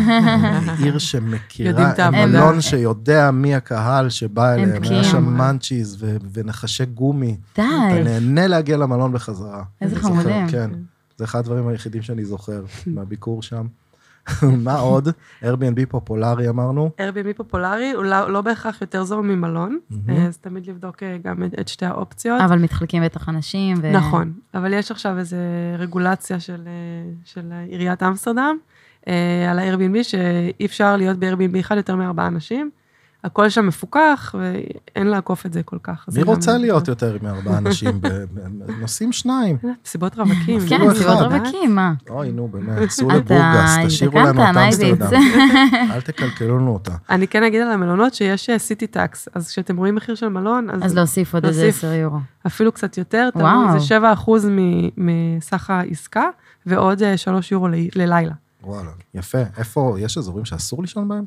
Speaker 2: יודעים
Speaker 1: שמכירה,
Speaker 2: את העבודה.
Speaker 1: מלון שיודע מי הקהל שבא אליהם. היה
Speaker 4: בקיאים.
Speaker 1: שם מאנצ'יז ו- ונחשי גומי.
Speaker 2: אה,
Speaker 1: אתה
Speaker 4: די.
Speaker 1: נהנה להגיע למלון בחזרה.
Speaker 4: איזה
Speaker 1: אני זוכר,
Speaker 4: חמודים.
Speaker 1: כן. זה אחד הדברים היחידים שאני זוכר מהביקור שם. מה עוד? Airbnb פופולרי אמרנו.
Speaker 2: Airbnb פופולרי, הוא לא לא בהכרח יותר זול ממלון,
Speaker 1: מהמם.
Speaker 2: אה, אז תמיד לבדוק אה, גם את- את שתי האופציות.
Speaker 4: אבל מתחלקים בטח אנשים. ו-
Speaker 2: נכון, אבל יש עכשיו איזו רגולציה של, אה, של עיריית אמסטרדם אה, על ה-Airbnb, שאי אפשר להיות ב-Airbnb אחד יותר מארבעה אנשים. הכל שם מפוקח, ואין לעקוף את זה כל כך. אז
Speaker 1: מי
Speaker 2: גם- נכון.
Speaker 1: רוצה להיות יותר מארבעה אנשים? ב- ב- נוסעים שניים.
Speaker 2: אה, מסיבות רווקים.
Speaker 4: כן,
Speaker 1: אפילו
Speaker 4: מסיבות
Speaker 1: כאילו אחד.
Speaker 2: נכון.
Speaker 4: רווקים, מה?
Speaker 1: אוי, נו, באמת, סעו
Speaker 4: אתה
Speaker 1: לבורגס, תשאירו
Speaker 4: הזדקנת,
Speaker 1: לנו את
Speaker 4: נייביץ.
Speaker 1: אמסטרדם. אל תקלקלו לנו אותה.
Speaker 2: אני כן אגיד על המלונות שיש סיטי טקס, אז כשאתם רואים מחיר של מלון, אז
Speaker 4: אז להוסיף עוד איזה
Speaker 2: להוסיף.
Speaker 4: 10 יורו.
Speaker 2: אפילו קצת יותר, תלוי, זה
Speaker 4: וואו.
Speaker 2: 7 אחוז מסך העסקה, ועוד 3 יורו ל- ללילה.
Speaker 1: וואלה, יפה. איפה, יש אזורים שאסור לישון בהם?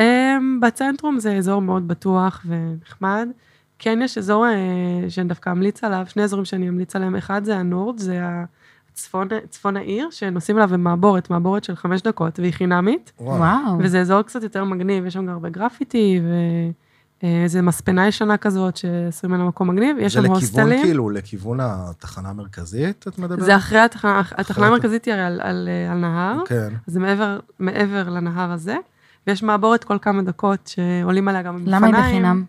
Speaker 2: Um, בצנטרום זה אזור מאוד בטוח ונחמד. כן, יש אזור uh, שאני דווקא אמליץ עליו, שני אזורים שאני אמליץ עליהם, אחד זה הנורד, זה הצפון, צפון העיר, שנוסעים אליו במעבורת, מעבורת של חמש דקות, והיא חינמית,
Speaker 1: וואלה.
Speaker 4: וואו.
Speaker 2: וזה אזור קצת יותר מגניב, יש שם גם הרבה גרפיטי, ואיזה מספנה ישנה כזאת שעשרים ממנה מקום מגניב, יש
Speaker 1: זה
Speaker 2: שם
Speaker 1: לכיוון,
Speaker 2: הוסטלים.
Speaker 1: כאילו, לכיוון התחנה המרכזית, את מדברת?
Speaker 2: זה אחרי התחנה, התחנה
Speaker 1: הת-
Speaker 2: המרכזית היא הרי על, על, אה, על נהר.
Speaker 1: כן.
Speaker 2: אז זה מעבר, מעבר לנהר הזה, ויש מעבורת כל כמה דקות שעולים עליה גם עם
Speaker 4: למה
Speaker 2: אופניים.
Speaker 4: היא בחינם?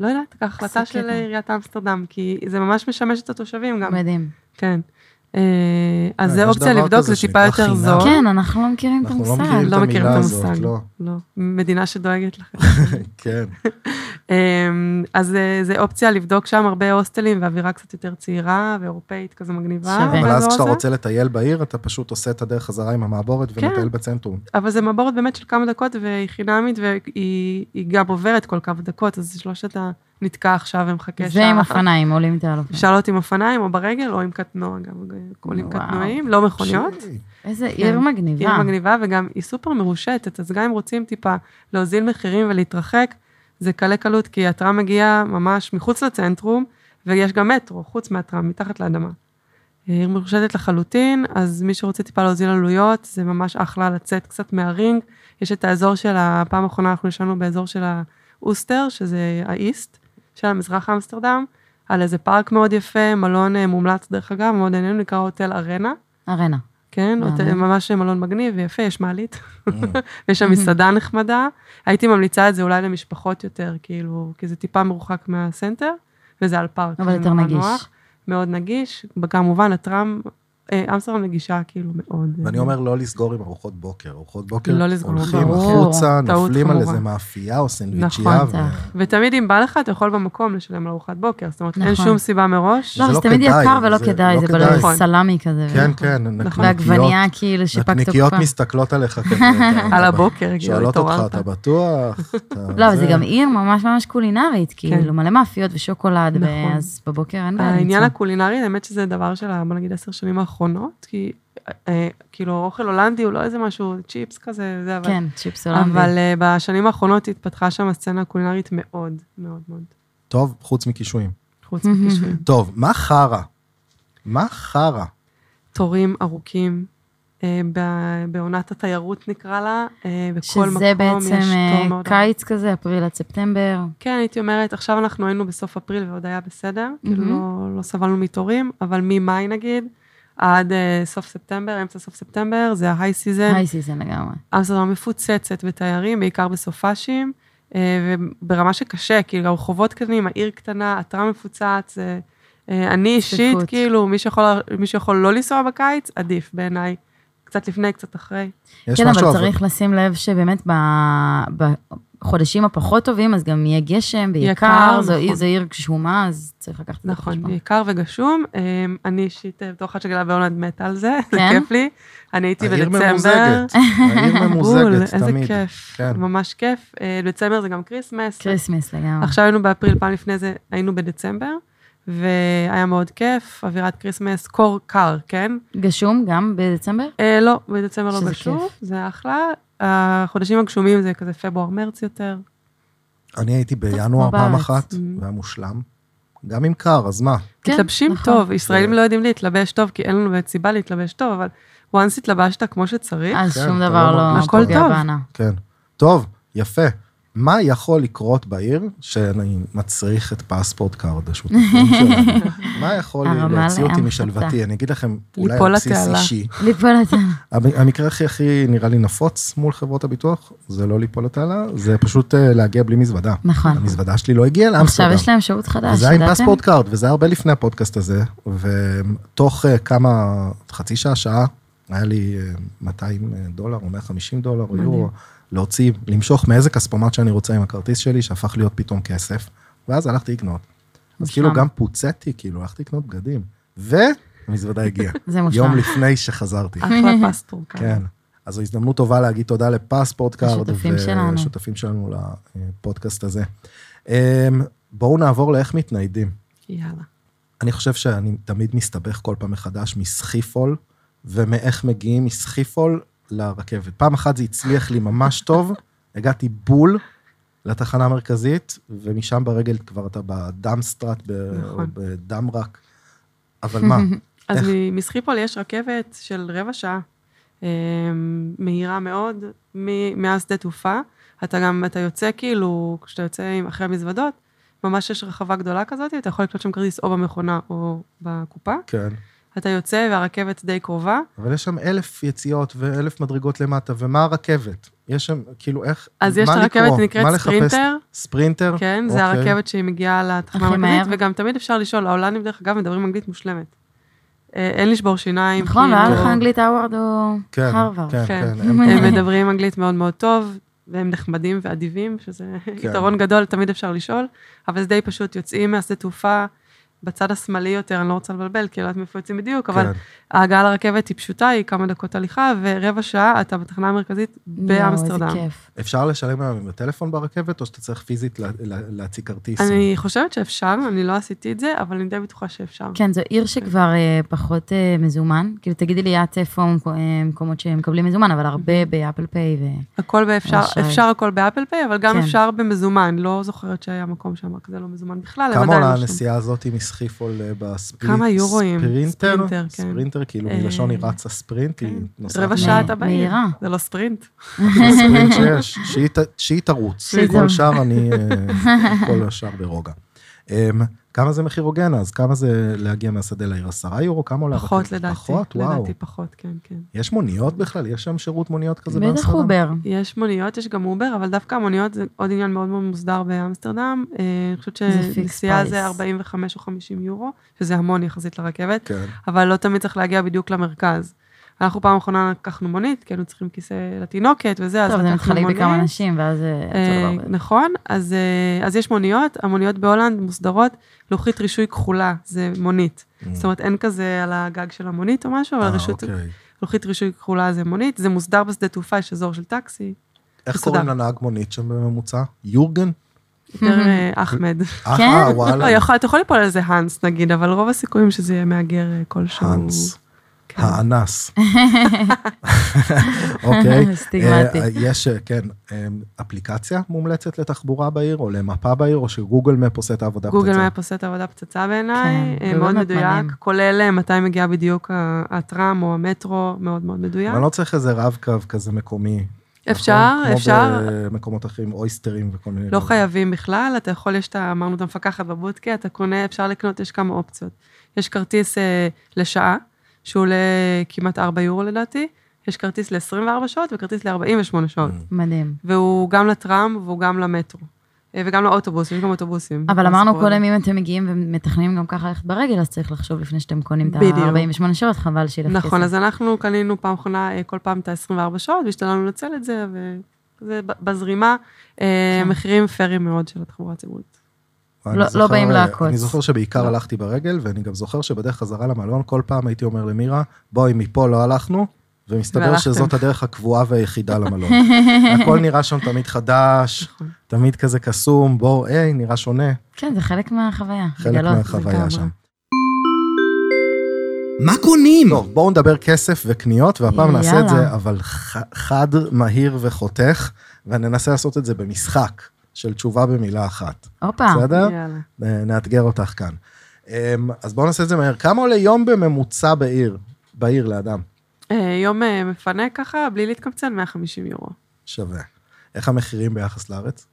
Speaker 2: לא יודעת, ככה החלטה
Speaker 4: איזה
Speaker 2: של
Speaker 4: קטע.
Speaker 2: עיריית אמסטרדם, כי זה ממש משמש את התושבים גם,
Speaker 4: מדהים.
Speaker 2: כן. אה, אז
Speaker 1: אה,
Speaker 2: זה
Speaker 1: יש
Speaker 2: אופציה
Speaker 1: דבר
Speaker 2: לבדוק,
Speaker 1: כזה
Speaker 2: זה טיפה
Speaker 1: שנקרא
Speaker 2: יותר
Speaker 1: חינם.
Speaker 2: זול.
Speaker 4: כן, אנחנו לא מכירים את
Speaker 1: אנחנו לא
Speaker 4: המושג.
Speaker 1: מכירים את
Speaker 2: נכון. לא מכירים את
Speaker 1: המילה הזאת,
Speaker 2: המושג.
Speaker 1: לא.
Speaker 2: לא, מדינה שדואגת לכם.
Speaker 1: כן.
Speaker 2: אה, אז אה, זה אופציה לבדוק שם הרבה הוסטלים ואווירה קצת יותר צעירה ואירופאית כזה מגניבה.
Speaker 4: שווה.
Speaker 1: אבל
Speaker 2: באזור
Speaker 1: אז כשאתה
Speaker 2: הזה.
Speaker 1: רוצה לטייל בעיר, אתה פשוט עושה את הדרך חזרה עם המעבורת
Speaker 2: כן.
Speaker 1: ומטייל בצנטרום.
Speaker 2: אבל זה מעבורת באמת של כמה דקות והיא חינמית והיא היא גם עוברת כל כמה דקות, אז זה לא שאתה נתקע עכשיו ומחכה
Speaker 4: זה עם אופניים, עולים איתה על אופניים.
Speaker 2: אפשר לעלות עם אופניים או ברגל או עם קטנוע, גם עולים
Speaker 4: וואו.
Speaker 2: קטנועים, לא מכוניות.
Speaker 1: שיט.
Speaker 4: איזה עיר מגניבה.
Speaker 2: כן. עיר מגניבה, וגם היא סופר מרושטת, אז גם אם רוצים טיפה להוזיל מחירים ולהתרחק, זה קלה קלות, כי הטראם מגיע ממש מחוץ לצנטרום, ויש גם מטרו, חוץ מהטראם, מתחת לאדמה. אה, עיר מרושטת לחלוטין, אז מי שרוצה טיפה להוזיל עלויות, זה ממש אחלה לצאת קצת מהרינג. יש את האזור של, הפעם האחרונה אנחנו ישנו באזור של האוסטר, שזה האיסט, של המזרח אמסטרדם, על איזה פארק מאוד יפה, מלון אה, מומלץ דרך אגב, מאוד עניין, נקרא הוטל ארנה.
Speaker 4: ארנה.
Speaker 2: כן,
Speaker 4: מהמם.
Speaker 2: הוטל- ממש מלון מגניב ויפה, יש מעלית,
Speaker 1: Mm.
Speaker 2: יש שם מסעדה נחמדה. הייתי ממליצה את זה אולי למשפחות יותר, כאילו, כי זה טיפה מרוחק מהסנטר, וזה על פארק.
Speaker 4: אבל
Speaker 2: כן, זה
Speaker 4: יותר
Speaker 2: נורא
Speaker 4: נגיש.
Speaker 2: נוח, מאוד נגיש, כמובן הטראם אה, אמסטרדם נגישה כאילו מאוד.
Speaker 1: ואני
Speaker 2: אה,
Speaker 1: אומר לא לסגור עם ארוחות בוקר. ארוחות בוקר,
Speaker 2: לא לסגור,
Speaker 1: הולכים
Speaker 4: ברור.
Speaker 1: החוצה,
Speaker 2: טעות
Speaker 1: נופלים על
Speaker 2: חמורה.
Speaker 1: איזה מאפייה או סנדוויצ'יה.
Speaker 2: נכון,
Speaker 1: ו-
Speaker 4: צריך.
Speaker 2: ותמיד אם בא לך, אתה יכול במקום לשלם על ארוחת בוקר, זאת אומרת, אין
Speaker 4: נכון.
Speaker 2: שום סיבה מראש.
Speaker 1: זה
Speaker 4: לא, אבל
Speaker 1: לא
Speaker 4: זה תמיד
Speaker 1: כדאי,
Speaker 4: יקר ולא
Speaker 1: זה
Speaker 4: כדאי,
Speaker 1: לא
Speaker 4: זה
Speaker 1: כדאי.
Speaker 4: בלבל
Speaker 2: נכון.
Speaker 4: סלמי כזה.
Speaker 1: כן,
Speaker 4: ו-
Speaker 1: כן,
Speaker 4: ועגבנייה
Speaker 1: נקניקיות.
Speaker 4: כאילו שפג
Speaker 1: נקניקיות
Speaker 4: תוקפה.
Speaker 1: מסתכלות עליך כזה.
Speaker 2: על הבוקר, כאילו,
Speaker 1: נכון. שואלות אותך,
Speaker 2: התעוררת.
Speaker 1: אתה בטוח? אתה
Speaker 4: לא, אבל זה
Speaker 1: זה?"
Speaker 4: גם עיר ממש ממש קולינרית, כאילו, מלא מאפיות ושוקולד,
Speaker 2: כן. נכון.
Speaker 4: אז בבוקר אין בעיה.
Speaker 1: כן.
Speaker 2: העניין
Speaker 4: למצוא.
Speaker 2: הקולינרי, האמת שזה דבר של, ה- בוא נגיד, עשר שנים האחרונות, כי אה, אה, כאילו, אוכל הולנדי הוא לא איזה משהו, צ'יפס כזה, זה, אבל...
Speaker 4: כן, צ'יפס עולם.
Speaker 2: אבל אה, בשנים האחרונות התפתחה שם הסצנה הקולינרית מאוד, מאוד מאוד,
Speaker 1: טוב, חוץ מקישואים.
Speaker 2: חוץ מקישואים.
Speaker 1: טוב, מה חרא? מה חרא?
Speaker 2: תורים ארוכים, אה, ב- בעונת התיירות נקרא לה, אה, בכל מקום יש
Speaker 4: שזה בעצם
Speaker 2: תור
Speaker 4: אה,
Speaker 2: מאוד ארוך.
Speaker 4: קיץ כזה, אפריל עד ספטמבר.
Speaker 2: כן, הייתי אומרת, עכשיו אנחנו היינו בסוף אפריל ועוד היה בסדר, כאילו
Speaker 4: מהמם.
Speaker 2: לא, לא סבלנו מתורים, אבל ממאי נגיד, עד אה, סוף ספטמבר, אמצע סוף ספטמבר, זה ההיי סיזן,
Speaker 4: היי סיזן לגמרי.
Speaker 2: אמסטרדם מפוצצת בתיירים, בעיקר בסופאשים, אה, וברמה שקשה, כאילו הרחובות קטנים, העיר קטנה, התרעה מפוצץ, זה... אה, אני אישית,
Speaker 4: צפיפות.
Speaker 2: כאילו, מי שיכול, מי שיכול לא לנסוע בקיץ, עדיף בעיניי. קצת לפני, קצת אחרי.
Speaker 1: יש
Speaker 4: כן,
Speaker 1: משהו
Speaker 4: אבל
Speaker 1: אבל-
Speaker 4: צריך לשים לב שבאמת ב- בחודשים הפחות טובים, אז גם יהיה גשם ויקר,
Speaker 2: יקר,
Speaker 4: זו
Speaker 2: נכון.
Speaker 4: זו עיר גשומה, אז צריך לקחת את זה
Speaker 2: נכון,
Speaker 4: בחשבון.
Speaker 2: יקר וגשום. אה, אני אישית, אה, בתור אחת שגדלה בהולנד, מתה על זה, זה
Speaker 4: כן?
Speaker 2: כיף לי. אני הייתי
Speaker 1: העיר
Speaker 2: בדצמבר.
Speaker 1: ממוזגת, העיר
Speaker 2: בול,
Speaker 1: ממוזגת
Speaker 2: איזה
Speaker 1: תמיד.
Speaker 2: כיף,
Speaker 1: כן.
Speaker 2: ממש כיף. אה, דצמבר זה גם כריסמס.
Speaker 4: כריסמס לגמרי.
Speaker 2: עכשיו היינו באפריל, פעם לפני זה היינו בדצמבר, והיה מאוד כיף, אווירת כריסמס, קור קר, כן?
Speaker 4: גשום גם בדצמבר?
Speaker 2: אה, לא, בדצמבר לא
Speaker 4: שזה
Speaker 2: גשום,
Speaker 4: כיף.
Speaker 2: זה אחלה. החודשים הגשומים זה כזה פברואר-מרץ יותר.
Speaker 1: אני הייתי
Speaker 4: כמו
Speaker 1: בינואר פעם
Speaker 4: בארץ.
Speaker 1: אחת,
Speaker 2: Mhm.
Speaker 1: והיה מושלם. גם אם קר, אז מה?
Speaker 4: כן,
Speaker 2: מתלבשים
Speaker 4: נכון.
Speaker 2: טוב, ישראלים
Speaker 1: זה-
Speaker 2: לא יודעים להתלבש טוב, כי אין לנו באמת סיבה להתלבש טוב, אבל once התלבשת כמו שצריך,
Speaker 4: אז
Speaker 1: כן,
Speaker 4: שום
Speaker 1: אתה
Speaker 4: דבר
Speaker 1: לא
Speaker 4: לא
Speaker 1: מרגיש
Speaker 2: טוב.
Speaker 4: פוגע
Speaker 2: הכל טוב.
Speaker 4: בנו.
Speaker 1: כן. טוב, יפה. מה יכול לקרות בעיר שאני מצריך את פספורט קארד השותפים שלנו? מה יכול
Speaker 4: הרמה
Speaker 1: להוציא אותי
Speaker 4: לים
Speaker 1: משלוותי?
Speaker 4: חטא.
Speaker 1: אני אגיד לכם, אולי
Speaker 2: ליפול
Speaker 1: על בסיס
Speaker 2: לתעלה.
Speaker 1: אישי.
Speaker 4: ליפול לתעלה.
Speaker 1: המ- המקרה הכי הכי נראה לי נפוץ מול חברות הביטוח, זה לא ליפול לתעלה, זה פשוט אה, להגיע בלי מזוודה.
Speaker 4: נכון.
Speaker 1: המזוודה שלי לא הגיעה
Speaker 4: עכשיו
Speaker 1: לאמסטרדם.
Speaker 4: יש להם שירות חדש,
Speaker 1: וזה היה עם
Speaker 4: ידעתם?
Speaker 1: פספורט קארד, וזה הרבה לפני הפודקאסט הזה, ותוך אה, כמה, חצי שעה, שעה, היה לי אה, 200 דולר או 150 דולר או יורו, להוציא, למשוך מאיזה כספומט שאני רוצה עם הכרטיס שלי, שהפך להיות פתאום כסף, ואז הלכתי לקנות. אז
Speaker 4: מושלם.
Speaker 1: כאילו גם פוצעתי, כאילו, הלכתי לקנות בגדים, והמזוודה הגיעה.
Speaker 4: זה מושלם.
Speaker 1: יום לפני שחזרתי.
Speaker 2: אחלה פסטור כאן.
Speaker 1: כן. אז זו הזדמנות טובה להגיד תודה לפספורט קארד
Speaker 4: השותפים שלנו.
Speaker 1: ושותפים שלנו לפודקאסט הזה. אמ, בואו נעבור לאיך מתניידים.
Speaker 2: יאללה.
Speaker 1: אני חושב שאני תמיד מסתבך כל פעם מחדש מסחיפול, ומאיך מגיעים מסחיפול לרכבת. פעם אחת זה הצליח לי ממש טוב, הגעתי בול לתחנה המרכזית, ומשם ברגל כבר אתה בדאמסטרט, ב- או
Speaker 2: נכון.
Speaker 1: בדם רק. אבל מה,
Speaker 2: אז
Speaker 1: איך?
Speaker 2: מ- מסחיפול יש רכבת של רבע שעה, אה, מהירה מאוד, מ- מהשדה תעופה. אתה גם, אתה יוצא כאילו, כשאתה יוצא עם- אחרי המזוודות, ממש יש רחבה גדולה כזאת, אתה יכול לקנות שם כרטיס או במכונה או בקופה.
Speaker 1: כן.
Speaker 2: אתה יוצא והרכבת די קרובה.
Speaker 1: אבל יש שם אלף יציאות ואלף מדרגות למטה, ומה הרכבת? יש שם, כאילו, איך,
Speaker 2: אז יש את
Speaker 1: מה
Speaker 2: הרכבת,
Speaker 1: לקרוא?
Speaker 2: היא נקראת
Speaker 1: מה לחפש?
Speaker 2: ספרינטר.
Speaker 1: ספרינטר?
Speaker 2: כן, זה
Speaker 1: אוקיי.
Speaker 2: הרכבת שהיא מגיעה לתחנה
Speaker 4: הכי
Speaker 2: המרכזית,
Speaker 4: נכון, מהר.
Speaker 2: וגם תמיד אפשר לשאול, ההולנדים דרך אגב מדברים אנגלית מושלמת. אה, אין לשבור שיניים,
Speaker 4: נכון, והיה לך
Speaker 2: כאילו,
Speaker 4: אנגלית האווארד או
Speaker 1: כן,
Speaker 4: הרווארד.
Speaker 1: כן,
Speaker 2: כן.
Speaker 1: כן. הם-
Speaker 4: אוקיי.
Speaker 2: הם מדברים אנגלית מאוד מאוד טוב, והם נחמדים ואדיבים, שזה
Speaker 1: כן.
Speaker 2: יתרון גדול, תמיד אפשר לשאול, אבל זה די פשוט, יוצאים מהשדה תעופה, בצד השמאלי יותר, אני לא רוצה לבלבל, כי אני לא יודעת מאיפה יוצאים בדיוק, אבל
Speaker 1: כן.
Speaker 2: ההגעה לרכבת היא פשוטה, היא כמה דקות הליכה, ורבע שעה אתה בתחנה המרכזית באמסטרדם.
Speaker 4: יואו, לא, איזה כיף.
Speaker 1: אפשר לשלם היום עם הטלפון ברכבת, או שאתה צריך פיזית לה- לה- להציג כרטיס?
Speaker 2: אני חושבת שאפשר, אני לא עשיתי את זה, אבל אני די בטוחה שאפשר.
Speaker 4: כן, זו עיר שכבר אה, פחות אה, מזומן. כאילו, תגידי לי את איפה המקו- אה, מקומות שמקבלים מזומן, אבל הרבה באפל פיי ו...
Speaker 2: הכל באפשר,
Speaker 4: רשאי.
Speaker 2: אפשר הכל באפל פיי, אבל גם
Speaker 4: כן.
Speaker 2: אפשר במזומן. לא זוכרת שהיה מקום שאמר כזה לא מזומן בכלל, הם
Speaker 1: כמה
Speaker 2: עדיין
Speaker 1: עולה
Speaker 2: לא שם.
Speaker 1: הנסיעה הזאת מסחיפול אה, בספרינט?
Speaker 2: כמה יורואים?
Speaker 1: ספרינטר?
Speaker 2: ספרינטר, כן.
Speaker 1: ספרינטר, כאילו,
Speaker 2: אה,
Speaker 1: מלשון היא רצה ספרינט, היא
Speaker 2: כן.
Speaker 1: נוסעת.
Speaker 2: רבע
Speaker 1: מה-
Speaker 2: שעה
Speaker 4: מהיר.
Speaker 2: אתה בעיר,
Speaker 4: מהירה.
Speaker 2: זה לא ספרינט.
Speaker 1: הכי ספרינט שיש, שהיא ת- שהיא תרוץ.
Speaker 4: שהיא
Speaker 1: כל
Speaker 4: תרוץ.
Speaker 1: השאר אני, אה, כל השאר ברוגע. אמ, כמה זה מחיר הוגן אז? כמה זה להגיע מהשדה לעיר? עשרה יורו? כמה עולה?
Speaker 2: פחות
Speaker 1: רכבת?
Speaker 2: לדעתי.
Speaker 1: פחות, וואו.
Speaker 2: לדעתי פחות, כן, כן.
Speaker 1: יש מוניות בכלל? יש שם שירות מוניות כזה
Speaker 4: בטח אובר.
Speaker 2: יש מוניות, יש גם אובר, אבל דווקא המוניות זה עוד עניין מאוד מאוד מוסדר באמסטרדם. אה, אני חושבת
Speaker 4: זה fixed
Speaker 2: שנסיעה
Speaker 4: price.
Speaker 2: זה 45 או 50 יורו, שזה המון יחסית לרכבת.
Speaker 1: כן.
Speaker 2: אבל לא תמיד צריך להגיע בדיוק למרכז. אנחנו פעם אחרונה לקחנו מונית, כי היינו צריכים כיסא לתינוקת וזה, אז
Speaker 4: טוב, זה
Speaker 2: לקחנו
Speaker 4: מתחלק
Speaker 2: מונית.
Speaker 4: בכמה אנשים, ואז אה,
Speaker 2: אה,
Speaker 4: אותו דבר.
Speaker 2: נכון, אז, אה, אז יש מוניות, המוניות בהולנד מוסדרות, לוחית רישוי כחולה, זה מונית. זאת אומרת, אין כזה על הגג של המונית או משהו, אבל
Speaker 1: אה,
Speaker 2: רשות,
Speaker 1: אוקיי.
Speaker 2: לוחית רישוי כחולה זה מונית, זה מוסדר בשדה תעופה, יש אזור של טקסי,
Speaker 1: איך
Speaker 2: מסודר.
Speaker 1: קוראים לנהג מונית שם בממוצע? יורגן?
Speaker 2: יותר אה, אחמד.
Speaker 1: אה,
Speaker 4: כן?
Speaker 1: אה,
Speaker 2: לא,
Speaker 1: וואלה.
Speaker 2: יכול- אתה יכול ליפול על זה האנס נגיד, אבל רוב הסיכויים שזה יהיה מהגר אה, כלשהו.
Speaker 1: האנס. אה,
Speaker 2: כן.
Speaker 1: האנס. אוקיי.
Speaker 4: סטיגמטי.
Speaker 1: אה, יש, אה, כן, אה, אפליקציה מומלצת לתחבורה בעיר, או למפה בעיר, או שגוגל מפ עושה את העבודה.
Speaker 2: גוגל
Speaker 1: פצצה?
Speaker 2: מפ עושה את העבודה פצצה בעיניי,
Speaker 4: כן,
Speaker 2: אה,
Speaker 4: זה
Speaker 2: מאוד
Speaker 4: באמת
Speaker 2: מדויק,
Speaker 4: מדהים.
Speaker 2: כולל אה, מתי מגיע בדיוק ה- הטראם או המטרו, מאוד מאוד מדויק.
Speaker 1: אבל לא צריך איזה רב-קו כזה מקומי.
Speaker 2: כן. אפשר,
Speaker 1: נכון?
Speaker 2: אפשר,
Speaker 1: כמו במקומות אחרים, אויסטרים וכל מיני.
Speaker 2: לא
Speaker 1: דברים.
Speaker 2: חייבים בכלל, אתה יכול, יש את, ה- אמרנו את המפקחת בבודקה, אתה קונה, אפשר לקנות, יש כמה אופציות. יש כרטיס אה, לשעה, שהוא עולה כמעט 4 יורו לדעתי, יש כרטיס ל-24 שעות וכרטיס ל-48
Speaker 1: אה.
Speaker 2: שעות,
Speaker 4: מדהים.
Speaker 2: והוא גם לטראם והוא גם למטרו, אה, וגם לאוטובוס, יש גם אוטובוסים.
Speaker 4: אבל
Speaker 2: אז
Speaker 4: אמרנו
Speaker 2: כל-
Speaker 4: קודם, אם אתם מגיעים ומתכננים גם ככה ללכת ברגל, אז צריך לחשוב לפני שאתם קונים את
Speaker 2: בדיוק.
Speaker 4: ה-48 שעות, חבל שילך כסף.
Speaker 2: נכון, אז אנחנו קנינו פעם אחרונה אה, כל פעם את ה-24 שעות, והשתדלנו לנצל את זה, וזה ב- בזרימה, אה,
Speaker 4: כן.
Speaker 2: מחירים פיירים מאוד של התחבורה הציבורית.
Speaker 1: ואני
Speaker 4: לא- לא
Speaker 1: זוכר,
Speaker 4: באים
Speaker 1: אה,
Speaker 4: להכות.
Speaker 1: אני זוכר שבעיקר
Speaker 2: לא.
Speaker 1: הלכתי ברגל, ואני גם זוכר שבדרך חזרה למלון, כל פעם הייתי אומר למירה, בואי, מפה לא הלכנו, ומסתבר
Speaker 2: והלכתם.
Speaker 1: שזאת הדרך הקבועה והיחידה למלון. הכל נראה שם תמיד חדש,
Speaker 2: נכון.
Speaker 1: תמיד כזה קסום, בוא, היי, נראה שונה,
Speaker 4: כן, זה חלק מהחוויה.
Speaker 1: חלק
Speaker 4: לגלות,
Speaker 1: מהחוויה
Speaker 4: לגמרי.
Speaker 1: שם.
Speaker 3: מה קונים?
Speaker 1: טוב, בואו נדבר כסף וקניות, והפעם נעשה את
Speaker 4: יאללה.
Speaker 1: זה, אבל ח- חד, מהיר וחותך, וננסה לעשות את זה במשחק של תשובה במילה אחת,
Speaker 4: הופה,
Speaker 1: בסדר?
Speaker 2: יאללה.
Speaker 1: אה, נאתגר אותך כאן. אמ, אז בואו נעשה את זה מהר. כמה עולה יום בממוצע בעיר, בעיר לאדם?
Speaker 2: אה, יום אה, מפנה ככה, בלי להתקמצן, 150 יורו.
Speaker 1: שווה. איך המחירים ביחס לארץ?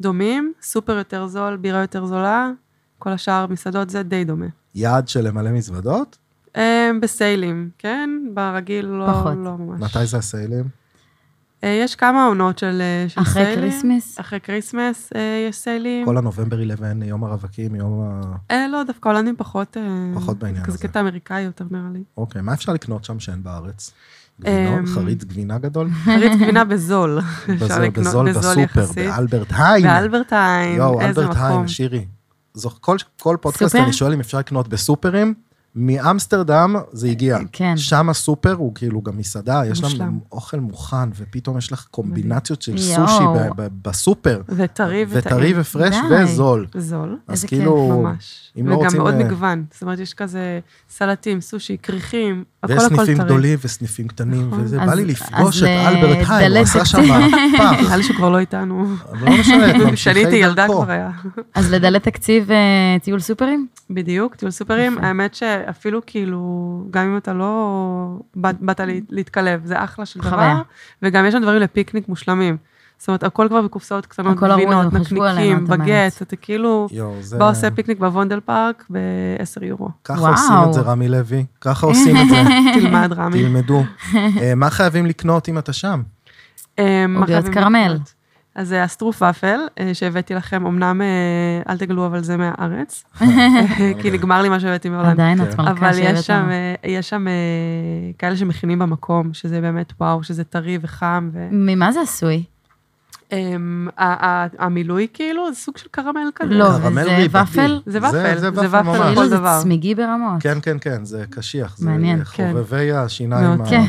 Speaker 2: דומים, סופר יותר זול, בירה יותר זולה, כל השאר מסעדות זה די דומה.
Speaker 1: יעד של למלא מזוודות?
Speaker 2: אה, בסיילים, כן? ברגיל לא,
Speaker 4: פחות.
Speaker 2: לא ממש.
Speaker 1: מתי זה הסיילים?
Speaker 2: אה, יש כמה עונות של, אה, של
Speaker 4: אחרי
Speaker 2: סיילים.
Speaker 4: כריסמס.
Speaker 2: אחרי כריסמס אה, יש סיילים.
Speaker 1: כל הנובמבר 11, יום הרווקים, יום ה...
Speaker 2: אה, לא, דווקא הולנדים פחות... אה,
Speaker 1: פחות בעניין
Speaker 2: כזה
Speaker 1: הזה.
Speaker 2: קטע אמריקאי יותר נראה לי.
Speaker 1: אוקיי, מה אפשר לקנות שם שאין בארץ? גבינות?
Speaker 2: אמ,
Speaker 1: חריץ גבינה גדול?
Speaker 2: חריץ גבינה בזול. אפשר
Speaker 1: בזול,
Speaker 2: לקנות
Speaker 1: בזול בסופר,
Speaker 2: יחסית.
Speaker 1: באלברט היין.
Speaker 2: באלברט היין,
Speaker 1: יואו,
Speaker 2: איזה
Speaker 1: אלברט
Speaker 2: מקום.
Speaker 1: היין, שירי. זו, כל, כל פודקאסט
Speaker 4: סופר?
Speaker 1: אני שואל אם אפשר לקנות בסופרים. מאמסטרדם זה הגיע.
Speaker 4: כן.
Speaker 1: שם הסופר הוא כאילו גם מסעדה, יש להם
Speaker 2: אה, מושלם.
Speaker 1: אוכל מוכן, ופתאום יש לך קומבינציות של
Speaker 4: יואו.
Speaker 1: סושי ב- ב- בסופר.
Speaker 2: וטרי וטעים.
Speaker 1: וטרי ופרש
Speaker 4: די.
Speaker 1: וזול.
Speaker 2: זול.
Speaker 1: אז
Speaker 4: איזה
Speaker 1: כאילו,
Speaker 2: ממש.
Speaker 1: אם לא רוצים,
Speaker 2: וגם מאוד
Speaker 1: אה,
Speaker 2: מגוון. זאת אומרת, יש כזה סלטים, סושי, כריכים, הכל
Speaker 1: ויש
Speaker 2: הכל טרי.
Speaker 1: סניפים גדולים וסניפים קטנים,
Speaker 2: נכון.
Speaker 1: וזה,
Speaker 4: אז-
Speaker 1: בא לי לפגוש
Speaker 4: אז,
Speaker 1: את
Speaker 4: אה,
Speaker 1: אלברט היין, הוא
Speaker 4: דלת
Speaker 1: עשה שם
Speaker 4: תקציב.
Speaker 1: מהפך.
Speaker 2: נראה לי שכבר לא איתנו.
Speaker 1: אבל לא משנה, ממשיכי
Speaker 2: כשאני הייתי ילדה
Speaker 1: דרכו.
Speaker 2: כבר היה.
Speaker 4: אז לדלת תקציב אה, טיול סופרים?
Speaker 2: בדיוק, טיול סופרים.
Speaker 4: יפה.
Speaker 2: האמת שאפילו כאילו, גם אם אתה לא באת באת לה- להתקלב, זה אחלה של
Speaker 4: חוויה.
Speaker 2: דבר. וגם יש שם דברים לפיקניק מושלמים. זאת אומרת, הכל כבר בקופסאות קטנות,
Speaker 4: הכל ארוז,
Speaker 2: גבינות,
Speaker 4: הם חשבו עלינו,
Speaker 2: נקניקים,
Speaker 4: את אומרת.
Speaker 2: בגט, אתה כאילו,
Speaker 1: יואו, זה...
Speaker 2: בא עושה פיקניק בוונדל פארק ב-10 יורו.
Speaker 1: ככה
Speaker 4: וואו.
Speaker 1: עושים את זה, רמי לוי. ככה עושים את זה.
Speaker 2: תלמד, רמי.
Speaker 1: תלמדו. אה, מה חייבים לקנות אם אתה שם?
Speaker 2: אה,
Speaker 4: עוגיות
Speaker 2: מחלבים
Speaker 4: קרמל.
Speaker 2: וקניות. אז זה הסטרוף ופל אה, שהבאתי לכם, אמנם אה, אל תגלו אבל זה מהארץ, אה, כי נגמר לי מה שהבאתי מהולנד.
Speaker 4: עדיין
Speaker 1: כן.
Speaker 4: את מלכה
Speaker 2: אבל
Speaker 4: שהבאת
Speaker 2: יש שם,
Speaker 4: לנו.
Speaker 2: אה, יש שם אה, כאלה שמכינים במקום, שזה באמת וואו, שזה טרי וחם. ו-
Speaker 4: ממה זה עשוי?
Speaker 2: אמ, ה- ה- המילוי כאילו, זה סוג של קרמל כזה.
Speaker 4: לא,
Speaker 1: קרמל
Speaker 4: וזה
Speaker 1: ריבתי.
Speaker 4: ופל?
Speaker 2: זה ופל, זה ופל
Speaker 1: ממש.
Speaker 2: כל
Speaker 4: כאילו זה
Speaker 2: דבר.
Speaker 4: צמיגי ברמות.
Speaker 1: כן, כן, כן, זה קשיח. זה
Speaker 4: מעניין.
Speaker 1: חובבי השיניים
Speaker 2: מאוד.
Speaker 1: ה-
Speaker 4: כן.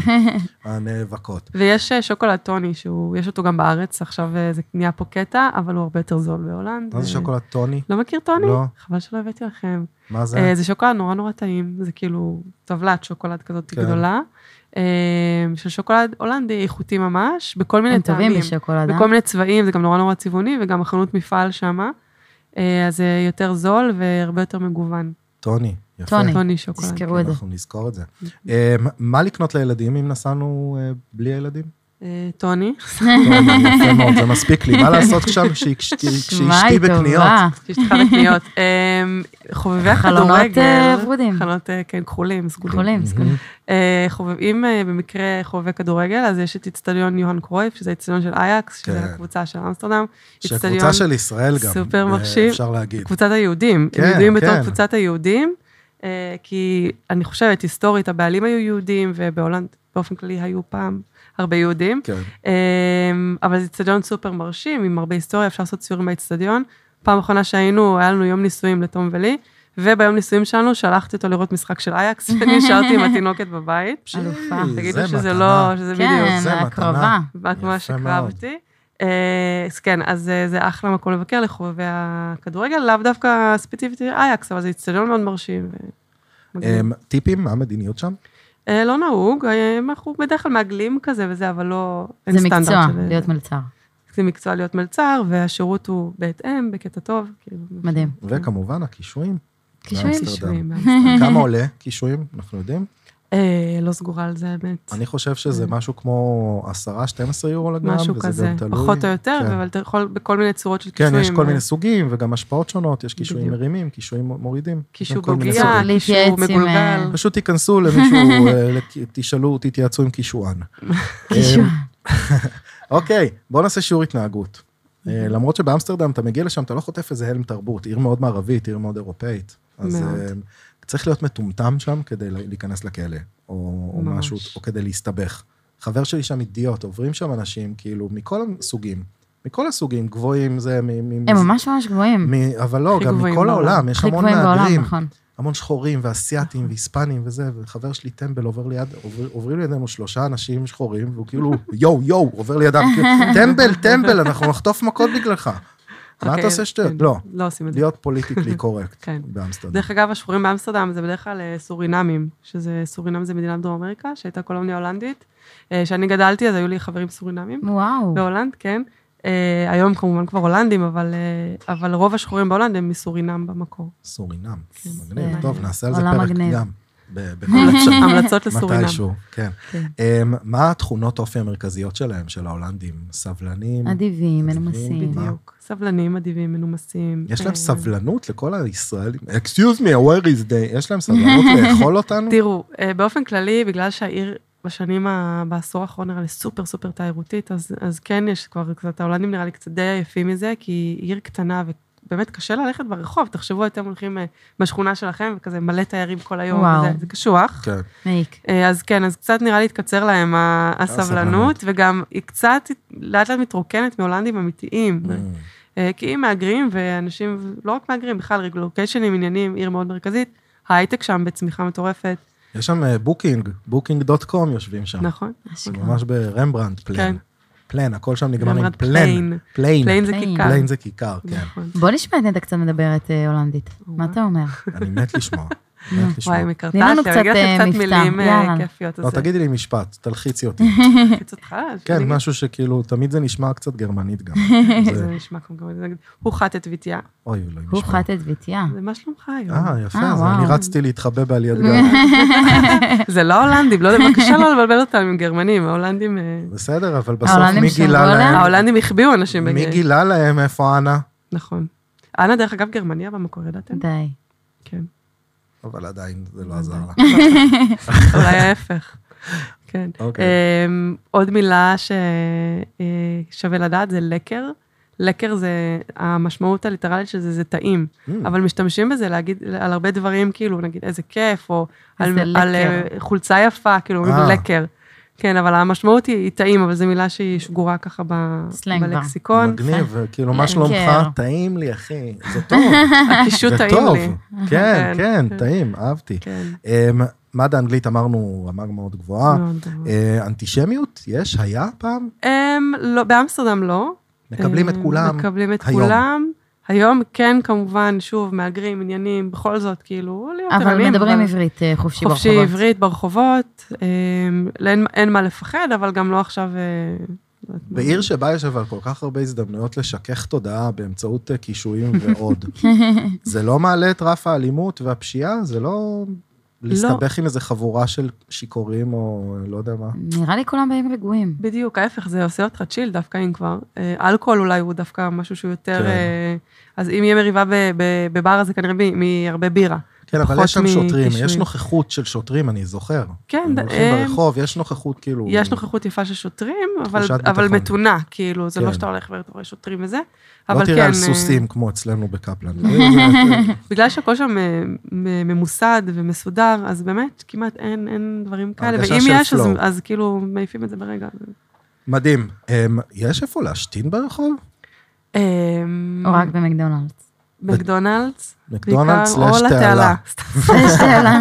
Speaker 1: הנאבקות.
Speaker 2: ויש אה, שוקולד טוני, שהוא- יש אותו גם בארץ, עכשיו אה, זה נהיה פה קטע, אבל הוא הרבה יותר זול בהולנד.
Speaker 1: מה זה
Speaker 2: אה,
Speaker 1: שוקולד טוני?
Speaker 2: לא מכיר טוני?
Speaker 1: לא.
Speaker 2: חבל שלא הבאתי לכם.
Speaker 1: מה זה?
Speaker 2: אה, זה שוקולד נורא נורא טעים, זה כאילו טבלת שוקולד כזאת
Speaker 1: כן.
Speaker 2: גדולה, אה, של שוקולד הולנדי איכותי ממש, בכל מיני
Speaker 4: הם טובים
Speaker 2: טעמים,
Speaker 4: בשוקולד, אה?
Speaker 2: בכל מיני צבעים, זה גם נורא נורא צבעוני, וגם החנות מפעל שמה, אה, אז זה יותר זול והרבה יותר מגוון.
Speaker 1: טוני. יפה. כן,
Speaker 4: טוני.
Speaker 2: טוני שוקולד.
Speaker 4: תזכרו את זה.
Speaker 1: אנחנו נזכור את זה. אה, מה לקנות לילדים אם נסענו אה, בלי הילדים?
Speaker 2: אה, טוני,
Speaker 1: טוב, יפה מאוד, זה מספיק לי. מה לעשות עכשיו כשאשתי כשאשתי בקניות?
Speaker 2: שאשתך בקניות. אמ, חובבי
Speaker 4: חלונות,
Speaker 2: הכדורגל,
Speaker 4: אה, ורודים.
Speaker 2: חלונות, אה, כן, כחולים, סגולים.
Speaker 4: כחולים, סגולים.
Speaker 2: אה, חובב- אם אה, במקרה חובבי כדורגל, אז יש את איצטדיון יוהאן קרויף, שזה איצטדיון של אייקס, שזה
Speaker 1: כן.
Speaker 2: הקבוצה של אמסטרדם.
Speaker 1: שהקבוצה
Speaker 2: איצטדיון-
Speaker 1: של ישראל גם,
Speaker 2: סופר
Speaker 1: אה,
Speaker 2: מרשים.
Speaker 1: אפשר להגיד.
Speaker 2: קבוצת היהודים.
Speaker 1: כן,
Speaker 2: הם
Speaker 1: כן.
Speaker 2: ידועים בתור קבוצת היהודים, אה, כי אני חושבת, היסטורית, הבעלים היו יהודים, ובהולנד באופן כללי היו פעם הרבה יהודים.
Speaker 1: כן.
Speaker 2: אמ, אבל זה אצטדיון סופר מרשים, עם הרבה היסטוריה, אפשר לעשות סיורים באצטדיון. פעם אחרונה שהיינו, היה לנו יום נישואים לתום ולי, וביום נישואים שלנו שלחתי אותו לראות משחק של אייקס, ואני נשארתי עם התינוקת בבית.
Speaker 4: אלופה.
Speaker 1: אה, זה
Speaker 2: תגידו שזה
Speaker 1: מתנה.
Speaker 2: לא, שזה בדיוק.
Speaker 4: כן,
Speaker 1: זה מתנה.
Speaker 4: הקרבה.
Speaker 2: רק
Speaker 1: יפה
Speaker 2: מה
Speaker 1: מאוד.
Speaker 2: שקרבתי. אה, אז כן, אז אה, זה אחלה מקום לבקר לחובבי הכדורגל, לאו דווקא ספציפית אייקס, אבל זה אצטדיון מאוד מרשים. ו- מגניב.
Speaker 1: אמ, טיפים? מה המדיניות שם?
Speaker 2: אה, לא נהוג, אה, אנחנו בדרך כלל מעגלים כזה וזה, אבל לא... אין
Speaker 4: זה
Speaker 2: סטנדרט
Speaker 4: מקצוע,
Speaker 2: של-
Speaker 4: להיות מלצר.
Speaker 2: זה מקצוע להיות מלצר, והשירות הוא בהתאם, בקטע טוב. כאילו,
Speaker 4: מדהים.
Speaker 1: וכמובן, הקישואים.
Speaker 4: קישואים.
Speaker 1: באמסטרדם.
Speaker 2: קישואים,
Speaker 1: כמה עולה קישואים? אנחנו יודעים.
Speaker 2: אה, לא סגורה על זה, האמת.
Speaker 1: אני חושב שזה משהו כמו 10-12 יורו לגרם,
Speaker 2: אוקיי. משהו
Speaker 1: וזה
Speaker 2: כזה,
Speaker 1: גם תלוי.
Speaker 2: פחות או יותר,
Speaker 1: כן.
Speaker 2: אבל אתה יכול בכל מיני צורות של
Speaker 1: כן,
Speaker 2: קישואים. אה?
Speaker 1: יש כל מיני סוגים וגם השפעות שונות, יש קישואים
Speaker 2: בדיוק.
Speaker 1: מרימים, קישואים מורידים.
Speaker 2: קישור
Speaker 1: גם כל מיני
Speaker 2: בוגיה,
Speaker 1: סוגים.
Speaker 4: סוגים.
Speaker 2: קישור
Speaker 4: להתייעץ עם, אה,
Speaker 2: מגולגל.
Speaker 1: פשוט תיכנסו למישהו, אה, לק- תשאלו, תתייעצו עם קישואן. כן.
Speaker 4: קישואים.
Speaker 1: אוקיי, בוא נעשה שיעור התנהגות. אה, למרות שבאמסטרדם אתה מגיע לשם, אתה לא חוטף איזה הלם תרבות, עיר מאוד מערבית, עיר מאוד אירופאית. אז
Speaker 2: מאוד.
Speaker 1: אה, צריך להיות מטומטם שם כדי לה- להיכנס לכלא, או או
Speaker 2: ממש.
Speaker 1: משהו, או כדי להסתבך. חבר שלי שם אידיוט, עוברים שם אנשים, כאילו, מכל הסוגים. מכל הסוגים, גבוהים, זה... מ- מ-
Speaker 4: הם
Speaker 1: מ-
Speaker 4: ממש ממש גבוהים.
Speaker 1: מ- אבל לא,
Speaker 2: הכי
Speaker 1: גם
Speaker 2: גבוהים
Speaker 1: מכל
Speaker 2: בעולם.
Speaker 1: העולם, יש
Speaker 4: הכי
Speaker 1: המון
Speaker 4: גבוהים בעולם,
Speaker 1: מהגרים,
Speaker 4: נכון.
Speaker 1: המון שחורים ואסייתים
Speaker 2: נכון.
Speaker 1: והיספנים וזה, וחבר שלי טמבל עובר ליד, עובר- עוברים לידינו שלושה אנשים שחורים, והוא כאילו, יואו, יואו, עובר לידם, כאילו, טמבל, טמבל, אנחנו נחטוף מכות בגללך. מה
Speaker 2: אוקיי,
Speaker 1: אתה עושה שטויות?
Speaker 2: כן,
Speaker 1: לא,
Speaker 2: לא עושים את זה.
Speaker 1: להיות פוליטיקלי קורקט
Speaker 2: כן.
Speaker 1: באמסטרדם.
Speaker 2: דרך אגב, השחורים באמסטרדם זה בדרך כלל אה, סורינמים, שזה, סורינם זה מדינה בדרום אמריקה, שהייתה קולוניה הולנדית. אה, כשאני גדלתי, אז היו לי חברים סורינמים
Speaker 4: וואו.
Speaker 2: בהולנד, כן. אה, היום כמובן כבר הולנדים, אבל, אה, אבל רוב השחורים בהולנד הם מסורינם במקור.
Speaker 1: סורינם,
Speaker 4: כן,
Speaker 1: מגניב,
Speaker 4: זה-
Speaker 1: טוב, נעשה על זה
Speaker 4: עולם
Speaker 1: פרק
Speaker 4: מגניב.
Speaker 1: גם. ב- בכל אפשר.
Speaker 2: המלצות לסורינם.
Speaker 1: מתישהו, כן.
Speaker 2: כן.
Speaker 1: אמ, מה התכונות אופי המרכזיות שלהם, של ההולנדים? סבלנים?
Speaker 4: אדיבים,
Speaker 1: אדיבים,
Speaker 4: מנומסים.
Speaker 1: בדיוק.
Speaker 2: בדיוק. סבלנים, אדיבים, מנומסים.
Speaker 1: אה. יש להם
Speaker 2: אה,
Speaker 1: סבלנות לכל הישראלים. Excuse me, where is they? יש להם סבלנות לאכול אותנו?
Speaker 2: תראו, אה, באופן כללי, בגלל שהעיר בשנים, ה- בעשור האחרון נראה לי סופר סופר תיירותית, אז, אז כן יש כבר קצת, ההולנדים נראה לי קצת די עייפים מזה, כי היא עיר קטנה ובאמת קשה ללכת ברחוב. תחשבו, אתם הולכים אה, בשכונה שלכם וכזה מלא תיירים כל היום,
Speaker 4: וואו.
Speaker 2: וזה, זה קשוח.
Speaker 1: כן.
Speaker 4: מעיק.
Speaker 2: אה, אז כן, אז קצת נראה לי התקצר להם ה- הסבלנות, וגם היא קצת לאט לאט מתרוקנת מהולנדים אמיתיים.
Speaker 1: Mm.
Speaker 2: אה, כי אם מהגרים, ואנשים, לא רק מהגרים, בכלל רגלוקיישנים, עניינים, עיר מאוד מרכזית, ההייטק שם בצמיחה מטורפת,
Speaker 1: יש שם אה, בוקינג, בוקינג דוט קום יושבים שם.
Speaker 2: נכון?
Speaker 1: ממש ברמברנדט
Speaker 2: כן.
Speaker 1: פלן. פלן, הכל שם נגמר עם
Speaker 2: רמברנדט
Speaker 1: פלן.
Speaker 2: פליין.
Speaker 1: פליין.
Speaker 2: פליין זה
Speaker 4: פליין.
Speaker 2: כיכר.
Speaker 1: פליין זה כיכר, כן.
Speaker 2: נכון.
Speaker 4: בוא נשמע את נטע קצת מדברת אה, הולנדית. מה אתה אומר?
Speaker 1: אני מת לשמוע. מת לשמוע.
Speaker 2: וואי, הם
Speaker 4: תני לנו
Speaker 2: מקרטעת,
Speaker 4: קצת,
Speaker 2: אני אגיד
Speaker 4: אה,
Speaker 2: לך קצת
Speaker 4: מבטא.
Speaker 2: מילים אה,
Speaker 4: יאללה.
Speaker 2: כיפיות.
Speaker 1: לא, תגידי לי משפט, תלחיצי אותי.
Speaker 2: אותך?
Speaker 1: כן, משהו שכאילו, תמיד זה נשמע קצת גרמנית גם. זה-
Speaker 2: זה נשמע כמו גרמנית, נגיד, הוא חט את ביתיה.
Speaker 1: אוי, אלוהים
Speaker 4: הוא
Speaker 1: נשמע.
Speaker 4: חט את ביתיה.
Speaker 2: זה מה שלומך היום.
Speaker 1: אה, לא. יפה,
Speaker 4: אה,
Speaker 1: אז
Speaker 4: וואו.
Speaker 1: אני רצתי להתחבא בעליית גל.
Speaker 2: זה לא הולנדים, לא- בבקשה לא לבלבל אותנו עם גרמנים, ההולנדים... אה,
Speaker 1: בסדר, אבל בסוף
Speaker 4: ההולנדים
Speaker 1: מי
Speaker 4: שמרו
Speaker 1: גילה
Speaker 4: עליה?
Speaker 1: להם?
Speaker 2: ההולנדים החביאו אנשים
Speaker 1: אה, מי
Speaker 2: בגלל.
Speaker 1: גילה להם איפה אנה?
Speaker 2: נכון. אנה, דרך אגב, גרמניה במקור, ידעתם?
Speaker 4: די.
Speaker 2: כן.
Speaker 1: אבל עדיין זה לא עזר לה.
Speaker 2: אולי ההפך. כן.
Speaker 1: אוקיי.
Speaker 2: אמ, עוד מילה ששווה לדעת זה לקר. לקר זה, המשמעות הליטרלית של זה, זה טעים.
Speaker 1: Mm.
Speaker 2: אבל משתמשים בזה להגיד על הרבה דברים, כאילו, נגיד איזה כיף, או
Speaker 4: איזה
Speaker 2: על, על אה,
Speaker 4: לקר.
Speaker 2: חולצה יפה, כאילו,
Speaker 1: אה.
Speaker 2: אומרים לקר. כן, אבל המשמעות היא, היא טעים, אבל זו מילה שהיא שגורה ככה ב,
Speaker 4: סלנג כבר.
Speaker 2: בלקסיקון.
Speaker 1: מגניב, כאילו, מה
Speaker 2: כן.
Speaker 4: לקר.
Speaker 1: שלומך? טעים לי, אחי. זה טוב,
Speaker 2: הקישוט
Speaker 1: זה
Speaker 2: טעים
Speaker 1: טוב.
Speaker 2: לי.
Speaker 1: כן,
Speaker 2: כן,
Speaker 1: כן,
Speaker 2: כן.
Speaker 1: טעים, אהבתי.
Speaker 2: כן.
Speaker 1: אמ, מד האנגלית אמרנו, רמה מאוד גבוהה.
Speaker 2: מאוד טוב.
Speaker 1: אה, אנטישמיות? יש? היה פעם?
Speaker 2: אמ, לא, באמסטרדם לא.
Speaker 1: מקבלים את
Speaker 2: אה,
Speaker 1: כולם.
Speaker 2: מקבלים את
Speaker 1: היום.
Speaker 2: כולם. היום כן, כמובן, שוב, מהגרים, עניינים, בכל זאת, כאילו, להיות
Speaker 4: אבל
Speaker 2: ערניים,
Speaker 4: מדברים עברית אה, חופשי ברחובות.
Speaker 2: חופשי עברית ברחובות, אמ, לא- אין- אין מה לפחד, אבל גם לא עכשיו... אה, לא יודעת מה.
Speaker 1: בעיר שבה יש אבל כל כך הרבה הזדמנויות לשכך תודעה באמצעות אה, קישואים ועוד. זה לא מעלה את רף האלימות והפשיעה? זה לא... להסתבך עם איזה חבורה של שיכורים או לא יודע מה.
Speaker 4: נראה לי כולם באים רגועים.
Speaker 2: בדיוק, ההפך, זה עושה אותך צ'יל דווקא אם כבר. אה, אלכוהול אולי הוא דווקא משהו שהוא יותר...
Speaker 1: כן.
Speaker 2: אה, אז אם יהיה מריבה ב- ב- בבר, זה כנראה מ- מהרבה בירה.
Speaker 1: כן, אבל
Speaker 2: פחות
Speaker 1: יש שם שוטרים, יש
Speaker 2: מפישויים.
Speaker 1: נוכחות של שוטרים, אני זוכר.
Speaker 2: כן,
Speaker 1: הם
Speaker 2: אה,
Speaker 1: הולכים ברחוב, יש נוכחות כאילו...
Speaker 2: יש נוכחות יפה של שוטרים, אבל,
Speaker 1: תחושת
Speaker 2: אבל
Speaker 1: ביטחון.
Speaker 2: מתונה, כאילו, זה
Speaker 1: כן.
Speaker 2: לא שאתה הולך ואתה רואה שוטרים וזה, אבל
Speaker 1: לא
Speaker 2: כן...
Speaker 1: תראה
Speaker 2: אה,
Speaker 1: על סוסים כמו אצלנו בקפלן.
Speaker 2: בגלל שהכל שם אה, מ- ממוסד ומסודר, אז באמת כמעט אין, אין דברים כאלה,
Speaker 1: הרגשה
Speaker 2: ואם
Speaker 1: של
Speaker 2: יש, אז,
Speaker 1: flow.
Speaker 2: אז כאילו מעיפים את זה ברגע.
Speaker 1: מדהים. אמ, יש איפה להשתין ברחוב?
Speaker 2: אה,
Speaker 4: או רק במקדונלדס.
Speaker 2: מקדונלדס,
Speaker 1: מקדונלדס
Speaker 2: בעיקר,
Speaker 1: סלאש
Speaker 2: או לתעלה.
Speaker 1: תעלה.
Speaker 2: סתם,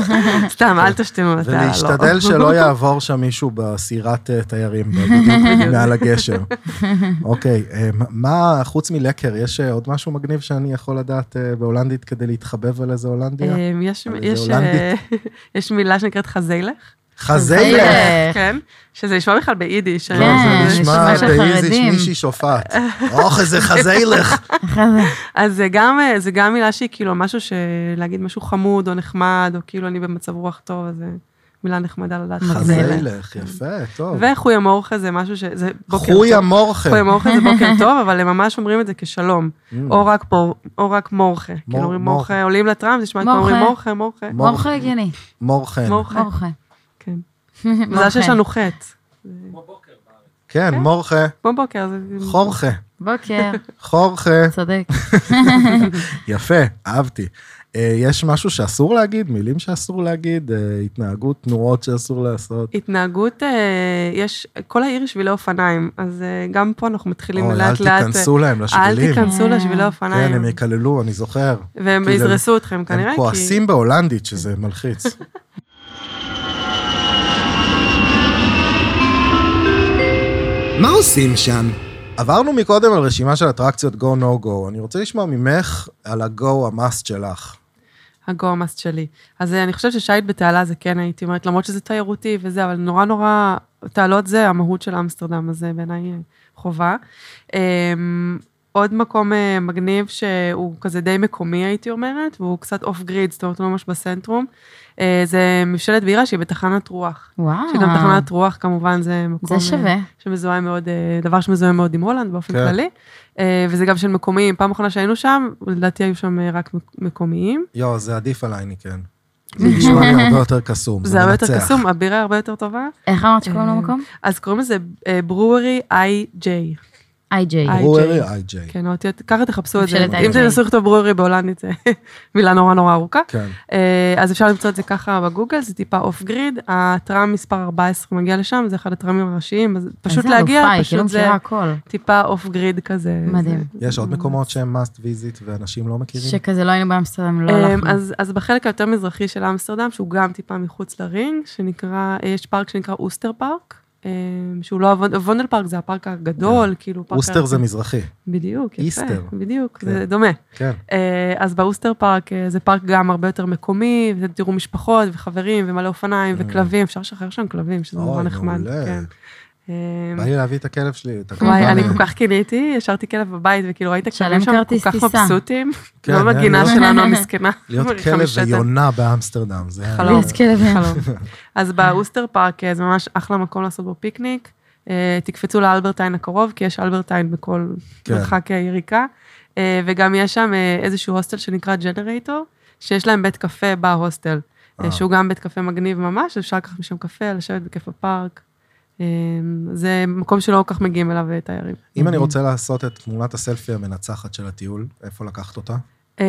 Speaker 2: סתם, אל תשתנו לתעלה. לא.
Speaker 1: ולהשתדל שלא יעבור שם מישהו בסירת אה, תיירים, בדיוק מעל הגשר. אוקיי, אה, מה- מה, חוץ מלקר, יש אה, עוד משהו מגניב שאני יכול לדעת אה, בהולנדית כדי להתחבב על איזה הולנדיה?
Speaker 2: אמ, יש-
Speaker 1: אבל זה
Speaker 2: יש,
Speaker 1: הולנדית.
Speaker 2: אה, יש מילה שנקראת חזיילך,
Speaker 1: חזיילך.
Speaker 2: כן, שזה נשמע בכלל ביידיש.
Speaker 1: לא,
Speaker 2: אני-
Speaker 4: כן,
Speaker 1: זה נשמע
Speaker 4: נשמע של
Speaker 1: ביידיש
Speaker 4: חרדים.
Speaker 1: מישהי שופעת. אוח, איזה חזיילך.
Speaker 2: אז זה גם, אה, זה גם מילה שהיא כאילו משהו ש... להגיד משהו חמוד או נחמד, או כאילו אני במצב רוח טוב, אז זה מילה נחמדה לדעת. חזיילך.
Speaker 1: חזיילך, יפה, טוב.
Speaker 2: וחוי אמורכה זה משהו ש... זה בוקר טוב.
Speaker 1: חויה מורכה.
Speaker 2: חוי אמורכה זה בוקר טוב, אבל הם ממש אומרים את זה כשלום.
Speaker 1: Mm.
Speaker 2: או רק פה, או רק מורכה. כאילו אומרים
Speaker 1: מורכה.
Speaker 2: מורכה, עולים לטראם, זה נשמע כמו אומרים
Speaker 4: מורכה.
Speaker 2: מורכה, מורכה.
Speaker 1: מור-
Speaker 4: מורכה הגיוני.
Speaker 1: מורכה.
Speaker 2: מורכה,
Speaker 4: מורכה.
Speaker 2: כן.
Speaker 4: מורכה.
Speaker 2: מזל שיש לנו חטא.
Speaker 1: כן, מורכה.
Speaker 2: כמו בוקר, זה...
Speaker 1: חורכה.
Speaker 4: בוקר,
Speaker 1: חורכה.
Speaker 4: צודק.
Speaker 1: יפה, אהבתי. אה, יש משהו שאסור להגיד, מילים שאסור להגיד, אה, התנהגות, תנועות שאסור לעשות.
Speaker 2: התנהגות, אה, יש, כל העיר היא שבילי אופניים, אז אה, גם פה אנחנו מתחילים
Speaker 1: אוי, אל
Speaker 2: לאט לאט.
Speaker 1: תיכנסו להם
Speaker 2: אל
Speaker 1: לשבילים.
Speaker 2: תיכנסו
Speaker 4: כן.
Speaker 2: לשבילי
Speaker 1: כן,
Speaker 2: אופניים,
Speaker 1: הם יקללו, אני זוכר.
Speaker 2: והם
Speaker 1: כאילו,
Speaker 2: יזרסו אתכם כנראה,
Speaker 1: הם
Speaker 2: כי-
Speaker 1: כועסים בהולנדית שזה מלחיץ.
Speaker 3: מה עושים שם?
Speaker 1: עברנו מקודם על רשימה של אטרקציות go no go, אני רוצה לשמוע ממך על ה-go המאסט שלך.
Speaker 2: הגורמאסט שלי. אז אה, אני חושבת ששייט בתעלה זה כן הייתי אומרת, למרות שזה תיירותי וזה, אבל נורא נורא, תעלות זה המהות של אמסטרדם, אז זה בעיניי אה, חובה. אה, עוד מקום אה, מגניב שהוא כזה די מקומי הייתי אומרת, והוא קצת אוף גריד, זאת אומרת הוא לא ממש בסנטרום, אה, זה מבשלת בירה שהיא בתחנת רוח.
Speaker 4: וואו.
Speaker 2: שגם תחנת רוח כמובן זה מקום...
Speaker 4: אה. זה
Speaker 2: אה,
Speaker 4: שווה.
Speaker 2: שמזוהה מאוד, אה, דבר שמזוהה מאוד עם הולנד באופן
Speaker 1: כן.
Speaker 2: כללי, אה, וזה גם של מקומיים, פעם אחרונה שהיינו שם, לדעתי היו שם אה, רק מק- מקומיים.
Speaker 1: יואו, לא, זה עדיף עליי, אני כן. זה נשמע לי הרבה יותר קסום,
Speaker 2: זה הרבה יותר
Speaker 1: מנצח.
Speaker 2: קסום, הבירה הרבה יותר טובה.
Speaker 4: איך אמרת שקוראים
Speaker 2: אה,
Speaker 4: למקום?
Speaker 2: אז קוראים לזה אה, ברוארי איי-ג'יי.
Speaker 4: איי-ג'יי.
Speaker 2: אה, איי.
Speaker 1: ברוארי איי-ג'יי.
Speaker 2: כן, האותיות, ככה תחפשו את זה.
Speaker 4: ממשלת
Speaker 2: אם
Speaker 4: IJ.
Speaker 2: תנסו לכתוב ברוארי בהולנדית, זה מילה נורא נורא ארוכה.
Speaker 1: כן.
Speaker 2: אה, אז אפשר למצוא את זה ככה בגוגל, זה טיפה אוף גריד. הטראם מספר 14 מגיע לשם, זה אחד הטראמים הראשיים, אז פשוט
Speaker 4: איזה
Speaker 2: להגיע,
Speaker 4: אלופה, היא כאילו
Speaker 2: פשוט זה
Speaker 4: מכירה הכל.
Speaker 2: טיפה אוף גריד כזה.
Speaker 4: מדהים.
Speaker 2: זה-
Speaker 1: יש עוד
Speaker 2: Mm.
Speaker 1: מקומות שהם must visit ואנשים לא מכירים?
Speaker 4: שכזה לא היינו באמסטרדם, לא
Speaker 2: אמ,
Speaker 4: הלכנו.
Speaker 2: אז, אז בחלק היותר מזרחי של אמסטרדם, שהוא גם טיפה מחוץ לרינג, שנקרא, אה, יש פארק שנקרא אוסטר פארק, אמ, שהוא לא, הוונ- וונדל פארק זה הפארק הגדול, כאילו פארק...
Speaker 1: כן. אוסטר זה מזרחי,
Speaker 2: בדיוק, יפה.
Speaker 1: איסטר.
Speaker 2: בדיוק,
Speaker 1: כן.
Speaker 2: זה דומה.
Speaker 1: כן.
Speaker 2: אה, אז באוסטר פארק אה, זה פארק גם הרבה יותר מקומי, ואתם תראו משפחות וחברים ומלא אופניים וכלבים, אפשר לשחרר שם כלבים, שזה נורא
Speaker 1: כן. אוי,
Speaker 2: נחמד.
Speaker 1: מעולה.
Speaker 2: כן. אמ,
Speaker 1: בא לי להביא את הכלב שלי, את הכלב.
Speaker 2: וואי, אני
Speaker 1: שלי.
Speaker 2: כל כך קינאתי, השארתי כלב בבית, וכאילו ראית
Speaker 4: תשלם
Speaker 2: כלבים שם כל
Speaker 4: כרטיס
Speaker 2: כך
Speaker 4: טיסה.
Speaker 2: מבסוטים,
Speaker 1: כן,
Speaker 2: לא
Speaker 1: אני
Speaker 2: המגינה
Speaker 1: להיות-
Speaker 2: שלנו המסכנה.
Speaker 1: להיות
Speaker 2: מריחה
Speaker 1: כלב
Speaker 2: משתן.
Speaker 1: ויונה באמסטרדם, זה...
Speaker 2: חלום.
Speaker 4: להיות כלב.
Speaker 2: חלום. אז באוסטר פארק אה, זה ממש אחלה מקום לעשות בו פיקניק. אה, תקפצו לאלברטיין הקרוב, כי יש אלברטיין בכל
Speaker 1: כן.
Speaker 2: מרחק אה, יריקה. אה, וגם יש שם אה, איזשהו הוסטל שנקרא ג'נרייטור, שיש להם בית קפה בהוסטל,
Speaker 1: אה.
Speaker 2: אה, שהוא גם בית קפה מגניב ממש, אפשר לקחת משם קפה, לשבת בכיף בפארק. אה, זה מקום שלא כל כך מגיעים אליו אה, תיירים.
Speaker 1: אם אני רוצה לעשות את תמונת הסלפי המנצחת של הטיול, איפה לקחת אותה?
Speaker 2: אה,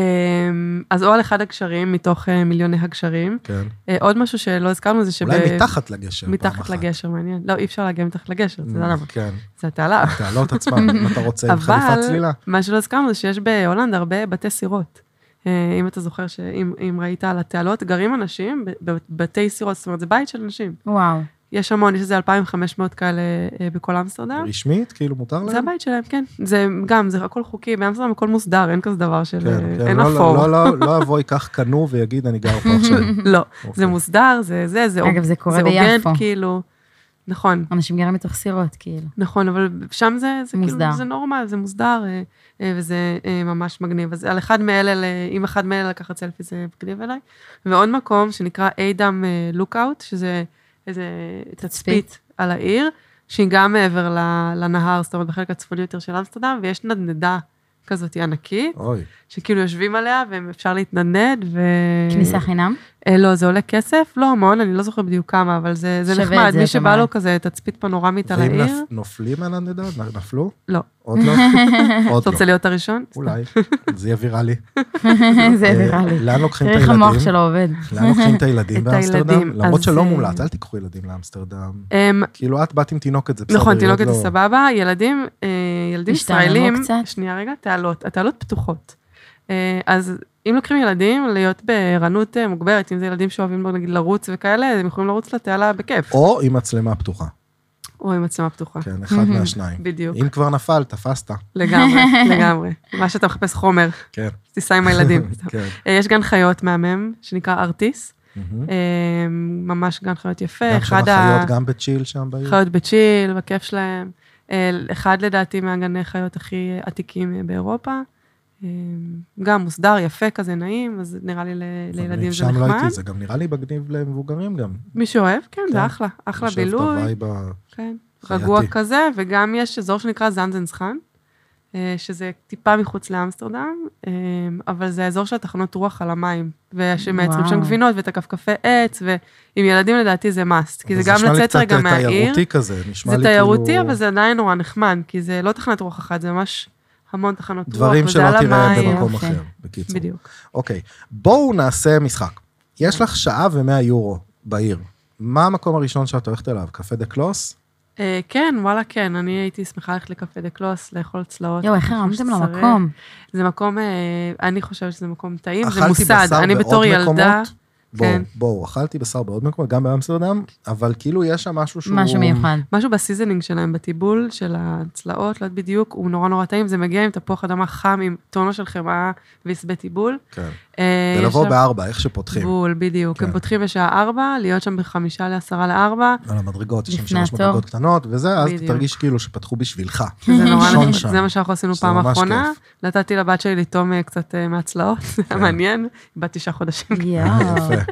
Speaker 2: אז או על אחד הגשרים מתוך אה, מיליוני הגשרים.
Speaker 1: כן.
Speaker 2: אה, עוד משהו שלא הזכרנו זה שב...
Speaker 1: אולי מתחת לגשר. פעם
Speaker 2: מתחת
Speaker 1: אחת.
Speaker 2: לגשר, מעניין. לא, אי אפשר להגיע מתחת לגשר, אתה יודע
Speaker 1: אה,
Speaker 2: למה?
Speaker 1: כן.
Speaker 2: זה התעלה.
Speaker 1: תעלות עצמם, אם אתה רוצה, עם חליפת
Speaker 2: אבל
Speaker 1: צלילה.
Speaker 2: מה שלא הזכרנו זה שיש בהולנד הרבה בתי סירות. אה, אם אתה זוכר שאם אם ראית על התעלות, גרים אנשים בבתי סירות, זאת אומרת, זה בית של אנשים.
Speaker 4: וואו.
Speaker 2: יש המון, יש איזה 2,500 כאלה אה, בכל אמסטרדם.
Speaker 1: רשמית, כאילו מותר להם?
Speaker 2: זה הבית שלהם, כן. זה גם, זה הכל חוקי, באמסטרדם הכל מוסדר, אין כזה דבר של...
Speaker 1: כן,
Speaker 2: אה,
Speaker 1: כן.
Speaker 2: אין
Speaker 1: לא-
Speaker 2: אפור.
Speaker 1: לא- לא- לא יבוא, ייקח קנו ויגיד, אני גר פה עכשיו.
Speaker 2: לא,
Speaker 1: אוקיי.
Speaker 2: זה מוסדר, זה זה, זה
Speaker 4: אגב, זה קורה
Speaker 2: זה הוגן,
Speaker 4: ביפו.
Speaker 2: כאילו. נכון,
Speaker 4: אנשים גרים בתוך סירות, כאילו.
Speaker 2: נכון, אבל שם זה, זה
Speaker 4: מוסדר.
Speaker 2: כאילו, זה נורמל, זה מוסדר, אה, אה, וזה אה, ממש מגניב. אז על אחד מאלה, ל- עם אחד מאלה לקחת סלפי, זה מגניב אליי. ועוד מקום שנקרא איידם לוקאוט, שזה איזה תצפית על העיר, שהיא גם מעבר ל- לנהר, זאת אומרת, בחלק הצפוני יותר של אמסטרדם, ויש נדנדה כזאת ענקית,
Speaker 1: אוי,
Speaker 2: שכאילו יושבים עליה, ואפשר להתנדנד, ו...
Speaker 4: כניסה חינם?
Speaker 2: אה, לא, זה עולה כסף, לא המון, אני לא זוכרת בדיוק כמה, אבל זה, זה
Speaker 4: שווה את
Speaker 2: נחמד.
Speaker 4: זה,
Speaker 2: מי
Speaker 4: את
Speaker 2: שבא
Speaker 4: אומרת.
Speaker 2: לו כזה תצפית פנורמית על
Speaker 1: ואם
Speaker 2: העיר,
Speaker 1: נפ- נופלים על הנדד? נ- נפלו?
Speaker 2: לא.
Speaker 1: עוד לא? עוד
Speaker 2: אתה רוצה
Speaker 1: לא.
Speaker 2: להיות הראשון?
Speaker 1: אולי, זה יהיה ויראלי.
Speaker 4: זה
Speaker 1: אה,
Speaker 4: נראה לי.
Speaker 1: לאן לוקחים את
Speaker 4: תראה איך המוח
Speaker 1: הילדים?
Speaker 4: שלו עובד.
Speaker 1: לאן לוקחים את הילדים
Speaker 2: את
Speaker 1: באמסטרדם?
Speaker 2: הילדים,
Speaker 1: למרות
Speaker 2: אז,
Speaker 1: שלא
Speaker 2: אה,
Speaker 1: מומלץ, אל תיקחו ילדים לאמסטרדם.
Speaker 2: אמ,
Speaker 1: כאילו, את באת עם תינוקת, זה בסדר.
Speaker 2: נכון,
Speaker 1: היא עוד
Speaker 2: תינוקת זה
Speaker 1: לא-
Speaker 2: סבבה, ילדים, אה, ילדים
Speaker 4: השתעממו
Speaker 2: ישראלים,
Speaker 4: קצת?
Speaker 2: שנייה רגע, תעלות, התעלות פתוחות. אה, אז אם לוקחים ילדים, להיות בערנות אה, מוגברת, אם זה ילדים שאוהבים מאוד, נגיד לרוץ וכאלה, הם יכולים לרוץ לתעלה בכיף,
Speaker 1: או עם מצלמה פתוחה.
Speaker 2: או עם מצלמה פתוחה.
Speaker 1: כן, אחד
Speaker 4: Mhm.
Speaker 1: מהשניים.
Speaker 2: בדיוק,
Speaker 1: אם כבר נפל, תפסת.
Speaker 2: לגמרי, לגמרי. מה שאתה מחפש חומר,
Speaker 1: כן.
Speaker 2: תיסע עם הילדים. סתם.
Speaker 1: כן.
Speaker 2: אה, יש גן חיות מהמם, שנקרא ארטיס,
Speaker 1: Mhm.
Speaker 2: אה, ממש גן חיות יפה.
Speaker 1: גם שם
Speaker 2: אה, אחד ה-
Speaker 1: החיות, גם בצ'יל שם בעיר.
Speaker 2: חיות בצ'יל, בכיף שלהם. אה, אחד לדעתי מהגני חיות הכי עתיקים אה, באירופה. אה, גם מוסדר, יפה כזה, נעים, אז נראה לי ל- לילדים זה
Speaker 1: שם לא
Speaker 2: נחמד.
Speaker 1: הייתי, זה גם נראה לי מגניב למבוגרים גם.
Speaker 2: מי שאוהב, כן,
Speaker 1: כן.
Speaker 2: זה אחלה, אחלה
Speaker 1: אני חושב את
Speaker 2: בילוי,
Speaker 1: הווייב ה-
Speaker 2: כן,
Speaker 1: חייתי.
Speaker 2: רגוע כזה, וגם יש אזור שנקרא זנזנסחן, אה, שזה טיפה מחוץ לאמסטרדם, אה, אבל זה האזור של התחנות רוח על המים, ושמייצרים שם
Speaker 4: וואו.
Speaker 2: גבינות ואת הכפכפי עץ, ועם ילדים לדעתי זה must, כי זה
Speaker 1: אבל
Speaker 2: גם
Speaker 1: נשמע לי
Speaker 2: לצאת
Speaker 1: קצת אה,
Speaker 2: רגע מהעיר.
Speaker 1: תיירותי כזה, נשמע לי
Speaker 2: זה
Speaker 1: כאילו...
Speaker 2: תיירותי, אבל זה עדיין נורא נחמד, כי זה לא תחנת רוח אחת, זה ממש המון תחנות רוח,
Speaker 1: דברים
Speaker 2: וזה
Speaker 1: שלא
Speaker 2: לא, על
Speaker 1: תראה
Speaker 2: המים.
Speaker 1: במקום
Speaker 4: יפה.
Speaker 1: אחר, בקיצור.
Speaker 2: בדיוק.
Speaker 1: אוקיי, בואו נעשה משחק. יש לך שעה ומאה יורו בעיר. מה המקום הראשון שאת הולכת אליו? קפה דה קלוס?
Speaker 2: אה, כן, וואלה, כן, אני הייתי שמחה ללכת לקפה דה קלוס, לאכול צלעות.
Speaker 4: יואו, איך
Speaker 2: כמו
Speaker 4: הרמתם לו
Speaker 2: שצריך.
Speaker 4: מקום?
Speaker 2: זה מקום, אה, אני חושבת שזה מקום טעים, זה
Speaker 1: אכלתי
Speaker 2: מוסד.
Speaker 1: בשר
Speaker 2: אני
Speaker 1: בעוד
Speaker 2: בתור
Speaker 1: מקומות?
Speaker 2: ילדה,
Speaker 1: בואו,
Speaker 2: כן.
Speaker 1: בואו, אכלתי בשר בעוד מקומות, גם באמסטרדם, אבל כאילו יש שם משהו
Speaker 2: אה.
Speaker 1: שהוא...
Speaker 4: משהו מיוחד.
Speaker 2: משהו בסיזנינג שלהם, בטיבול של הצלעות, לא יודעת בדיוק, הוא נורא נורא טעים, זה מגיע עם תפוח אדמה חם, עם טונו של חמאה ועשבי טיבול.
Speaker 1: כן.
Speaker 2: אה, יש
Speaker 1: ולבוא
Speaker 2: שם-
Speaker 1: בארבע, איך שפותחים.
Speaker 2: בול, בדיוק.
Speaker 1: כן.
Speaker 2: הם פותחים בשעה 4, להיות שם בחמישה לעשרה לארבע,
Speaker 1: על המדרגות, יש שם
Speaker 4: לפני
Speaker 1: שלוש
Speaker 4: התור.
Speaker 1: מדרגות קטנות, וזה, אז
Speaker 2: בדיוק.
Speaker 1: תרגיש כאילו שפתחו בשבילך.
Speaker 2: זה נורא
Speaker 1: לישון
Speaker 2: נכון,
Speaker 1: שם.
Speaker 2: זה מה שאנחנו עשינו
Speaker 1: שזה
Speaker 2: פעם
Speaker 1: ממש
Speaker 2: האחרונה. נתתי לבת שלי לטום אה, קצת אה, מהצלעות,
Speaker 1: כן.
Speaker 2: זה היה מעניין, היא בת תשעה חודשים.
Speaker 4: יואו.
Speaker 1: יפה.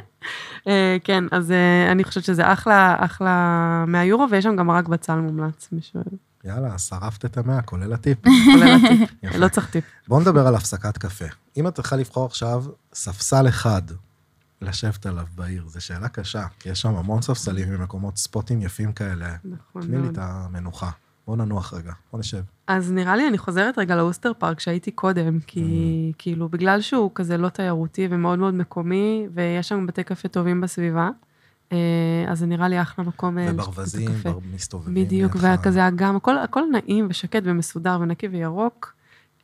Speaker 2: אה, כן, אז אה, אני חושבת שזה אחלה, אחלה מהיורו, ויש שם גם רק בצל מומלץ, מי שאוהב.
Speaker 1: יאללה, שרפת את המאה, כולל הטיפ.
Speaker 2: כולל הטיפ.
Speaker 1: יפה.
Speaker 2: לא צריך טיפ.
Speaker 1: בואו נדבר על הפסקת קפה. אם את צריכה לבחור עכשיו ספסל אחד לשבת עליו בעיר, זו שאלה קשה, כי יש שם המון ספסלים ומקומות ספוטים יפים כאלה.
Speaker 2: נכון
Speaker 1: תני לי את
Speaker 2: מאוד.
Speaker 1: המנוחה. בואו ננוח רגע, בואו נשב.
Speaker 2: אז נראה לי אני חוזרת רגע לאוסטר פארק שהייתי קודם, כי
Speaker 1: אה.
Speaker 2: כאילו, בגלל שהוא כזה לא תיירותי ומאוד מאוד מקומי, ויש שם בתי קפה טובים בסביבה, אה, אז זה נראה לי אחלה מקום אה, לשתות את
Speaker 1: וברווזים,
Speaker 2: הקפה.
Speaker 1: בר- מסתובבים
Speaker 2: בדיוק,
Speaker 1: לידך.
Speaker 2: וכזה אגם, הכל, הכל נעים ושקט ומסודר ונקי וירוק,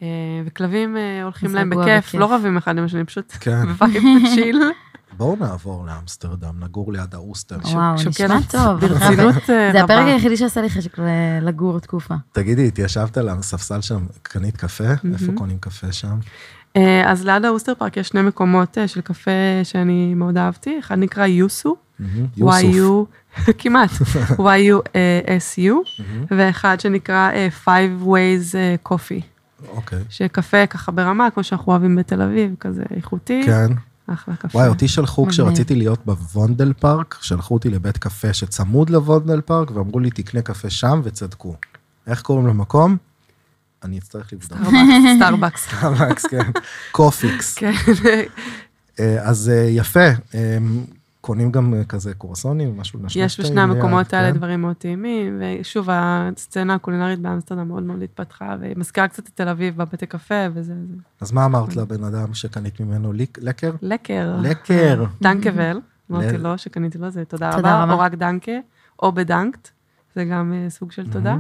Speaker 2: אה, וכלבים אה, הולכים להם
Speaker 4: רגוע
Speaker 2: בכיף,
Speaker 4: וכיף.
Speaker 2: לא רבים אחד עם השני, פשוט
Speaker 1: כן.
Speaker 2: בבית בצ'יל.
Speaker 1: בואו נעבור לאמסטרדם, נגור ליד האוסטר.
Speaker 4: וואו,
Speaker 2: שוקלת
Speaker 4: נשמע טוב.
Speaker 2: ברצינות אה,
Speaker 1: כן,
Speaker 4: זה הפרק
Speaker 2: רבה.
Speaker 4: היחידי שעשה לי חשק ל- לגור תקופה.
Speaker 1: תגידי, התיישבת על הספסל שם, קנית קפה? איפה קונים קפה שם?
Speaker 2: אה, אז ליד האוסטר פארק יש שני מקומות אה, של קפה שאני מאוד אהבתי, אחד נקרא יוסו,
Speaker 1: מהמם. יוסוף.
Speaker 2: YU, כמעט, YUSU, ואחד שנקרא אה, Five Ways אה, Coffee,
Speaker 1: אוקיי.
Speaker 2: שקפה ככה ברמה, כמו שאנחנו אוהבים בתל אביב, כזה איכותי,
Speaker 1: כן.
Speaker 2: אחלה קפה.
Speaker 1: וואי, אותי שלחו
Speaker 4: מגניב.
Speaker 1: כשרציתי להיות בוונדל פארק, שלחו אותי לבית קפה שצמוד לוונדל פארק, ואמרו לי, תקנה קפה שם, וצדקו. איך קוראים למקום? אני אצטרך לבדוק.
Speaker 2: סטארבקס, סטארבקס.
Speaker 1: סטארבקס, כן. קופיקס.
Speaker 2: כן,
Speaker 1: אה, אז אה, יפה, אה, קונים גם אה, כזה קורסונים, משהו לנשמע.
Speaker 2: יש בשני המקומות
Speaker 1: כן.
Speaker 2: האלה דברים מאוד טעימים, ושוב, הסצנה הקולינרית באמסטרדם מאוד מאוד התפתחה, והיא מזכירה קצת את תל אביב בבתי קפה, וזה זה
Speaker 1: אז מה אמרת לבן אדם שקנית ממנו ליק- לקר?
Speaker 2: לקר. כן.
Speaker 1: לקר.
Speaker 2: דנקבל, אמרתי
Speaker 1: ל-
Speaker 2: לו, שקניתי לו, זה תודה
Speaker 4: תודה
Speaker 2: רבה,
Speaker 4: רבה.
Speaker 2: או רק דנקה, או בדנקט, זה גם אה, סוג של תודה.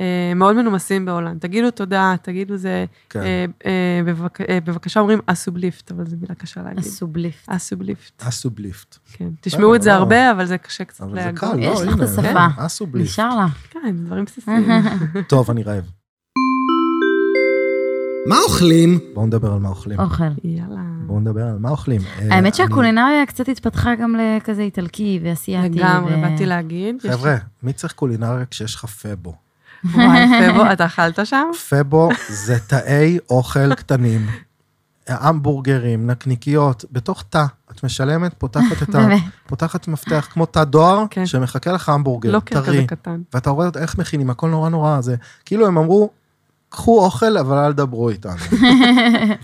Speaker 2: אה, מאוד מנומסים בהולנד, תגידו תודה, תגידו זה,
Speaker 1: כן.
Speaker 2: אה, אה, בבק- אה, בבקשה אומרים אסובליפט, אבל זו מילה קשה להגיד.
Speaker 4: הסובליפט.
Speaker 2: אסובליפט,
Speaker 1: אסובליפט.
Speaker 2: כן. תשמעו את זה
Speaker 1: לא.
Speaker 2: הרבה, אבל זה קשה קצת
Speaker 1: אבל זה
Speaker 2: להגות.
Speaker 1: קל, לא,
Speaker 4: יש לך את
Speaker 1: הנה,
Speaker 4: השפה.
Speaker 1: כן, אסובליפט.
Speaker 4: נשאר לך.
Speaker 2: כן, דברים בסיסיים.
Speaker 1: טוב, אני רעב.
Speaker 3: מה אוכלים?
Speaker 1: בואו נדבר על מה אוכלים.
Speaker 4: אוכל.
Speaker 2: יאללה.
Speaker 1: בואו נדבר על מה אוכלים. אה,
Speaker 4: אוקיי. האמת
Speaker 1: אני-
Speaker 4: שהקולינריה קצת התפתחה גם לכזה איטלקי ואסייתי.
Speaker 2: לגמרי,
Speaker 4: ו-
Speaker 2: באתי להגיד. יש-
Speaker 1: חבר'ה, מי צריך קולינריה כשיש לך פבו?
Speaker 2: וואי, פבו, אתה אכלת שם?
Speaker 1: פבו זה תאי אוכל קטנים. המבורגרים, נקניקיות, בתוך תא. את משלמת, פותחת את ה...
Speaker 4: באמת.
Speaker 1: פותחת מפתח כמו תא דואר,
Speaker 2: כן.
Speaker 1: שמחכה לך המבורגר,
Speaker 2: לוקר כזה
Speaker 1: טרי.
Speaker 2: לא קטן.
Speaker 1: ואתה רואה איך מכינים, הכל נורא נורא, זה כאילו הם אמרו, קחו אוכל, אבל אל דברו איתנו.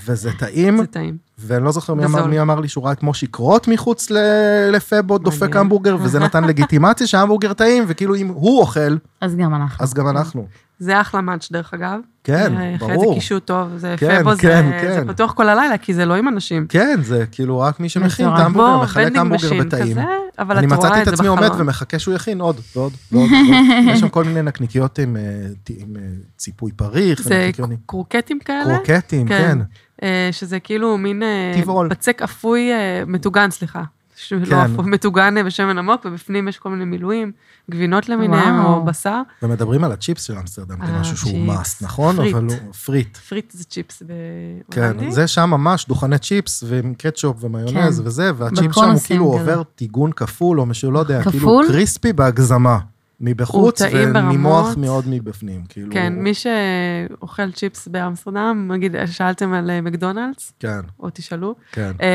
Speaker 1: וזה טעים,
Speaker 2: זה טעים.
Speaker 1: ואני לא זוכר מי אמר,
Speaker 2: וזול.
Speaker 1: מי אמר לי שהוא ראה את מושי קרוט מחוץ ל- לפבו, דופק
Speaker 2: מעניין.
Speaker 1: המבורגר, וזה נתן לגיטימציה שההמבורגר טעים, וכאילו אם הוא אוכל, אז
Speaker 4: אז גם אנחנו.
Speaker 2: כן.
Speaker 1: גם אנחנו.
Speaker 2: זה אחלה מאץ', דרך אגב.
Speaker 1: כן,
Speaker 2: אה, אחרי זה
Speaker 1: ברור.
Speaker 2: קישוט טוב, זה
Speaker 1: כן,
Speaker 2: פבו, זה-
Speaker 1: כן,
Speaker 2: זה
Speaker 1: כן.
Speaker 2: פתוח כל הלילה, כי זה לא עם אנשים.
Speaker 1: כן, זה כאילו רק מי שמכין את
Speaker 4: מטורף.
Speaker 1: ההמבורגר,
Speaker 2: כמו
Speaker 1: מחלק
Speaker 2: vending
Speaker 1: המבורגר
Speaker 2: machine
Speaker 1: בטעים.
Speaker 2: כזה, אבל
Speaker 1: אני
Speaker 2: את רואה
Speaker 1: מצאתי
Speaker 2: את
Speaker 1: את
Speaker 2: זה
Speaker 1: עצמי עומד
Speaker 2: בחלון.
Speaker 1: ומחכה שהוא יכין עוד ועוד ועוד ועוד. יש שם כל מיני נקניקיות עם, אה, ט- עם אה, ציפוי פריך,
Speaker 2: זה
Speaker 1: ונקניקיונים.
Speaker 2: קרוקטים כאלה,
Speaker 1: קרוקטים, כן.
Speaker 2: כן. אה, שזה כאילו מין אה,
Speaker 1: טבעול.
Speaker 2: בצק אפוי, אה, מטוגן, סליחה. שלא
Speaker 1: כן.
Speaker 2: אפוי, מטוגן אה, בשמן עמוק, ובפנים יש כל מיני מילואים, גבינות למיניהם,
Speaker 4: וואו.
Speaker 2: או בשר.
Speaker 1: ומדברים על הצ'יפס של אמסטרדם
Speaker 2: אה,
Speaker 1: כמשהו שהוא
Speaker 2: צ'יפס.
Speaker 1: must, נכון?
Speaker 2: פריט.
Speaker 1: אבל הוא פריט.
Speaker 2: פריט זה צ'יפס בהולנדי.
Speaker 1: כן, זה שם ממש דוכני צ'יפס ועם קטשופ ומיונז
Speaker 4: כן.
Speaker 1: וזה, והצ'יפ
Speaker 4: בכל
Speaker 1: שם הוא
Speaker 4: עושים
Speaker 1: כאילו
Speaker 4: כזה.
Speaker 1: עובר טיגון כפול, או משהו, לא יודע, כאילו
Speaker 4: כפול?
Speaker 1: קריספי בהגזמה. מבחוץ
Speaker 2: הוא טעים
Speaker 1: וממוח
Speaker 2: ברמות.
Speaker 1: מאוד מבפנים, כאילו.
Speaker 2: כן, מי שאוכל צ'יפס באמסטרדם, נגיד, שאלתם על אה, מקדונלדס,
Speaker 1: כן,
Speaker 2: או תשאלו,
Speaker 1: כן.
Speaker 2: אה,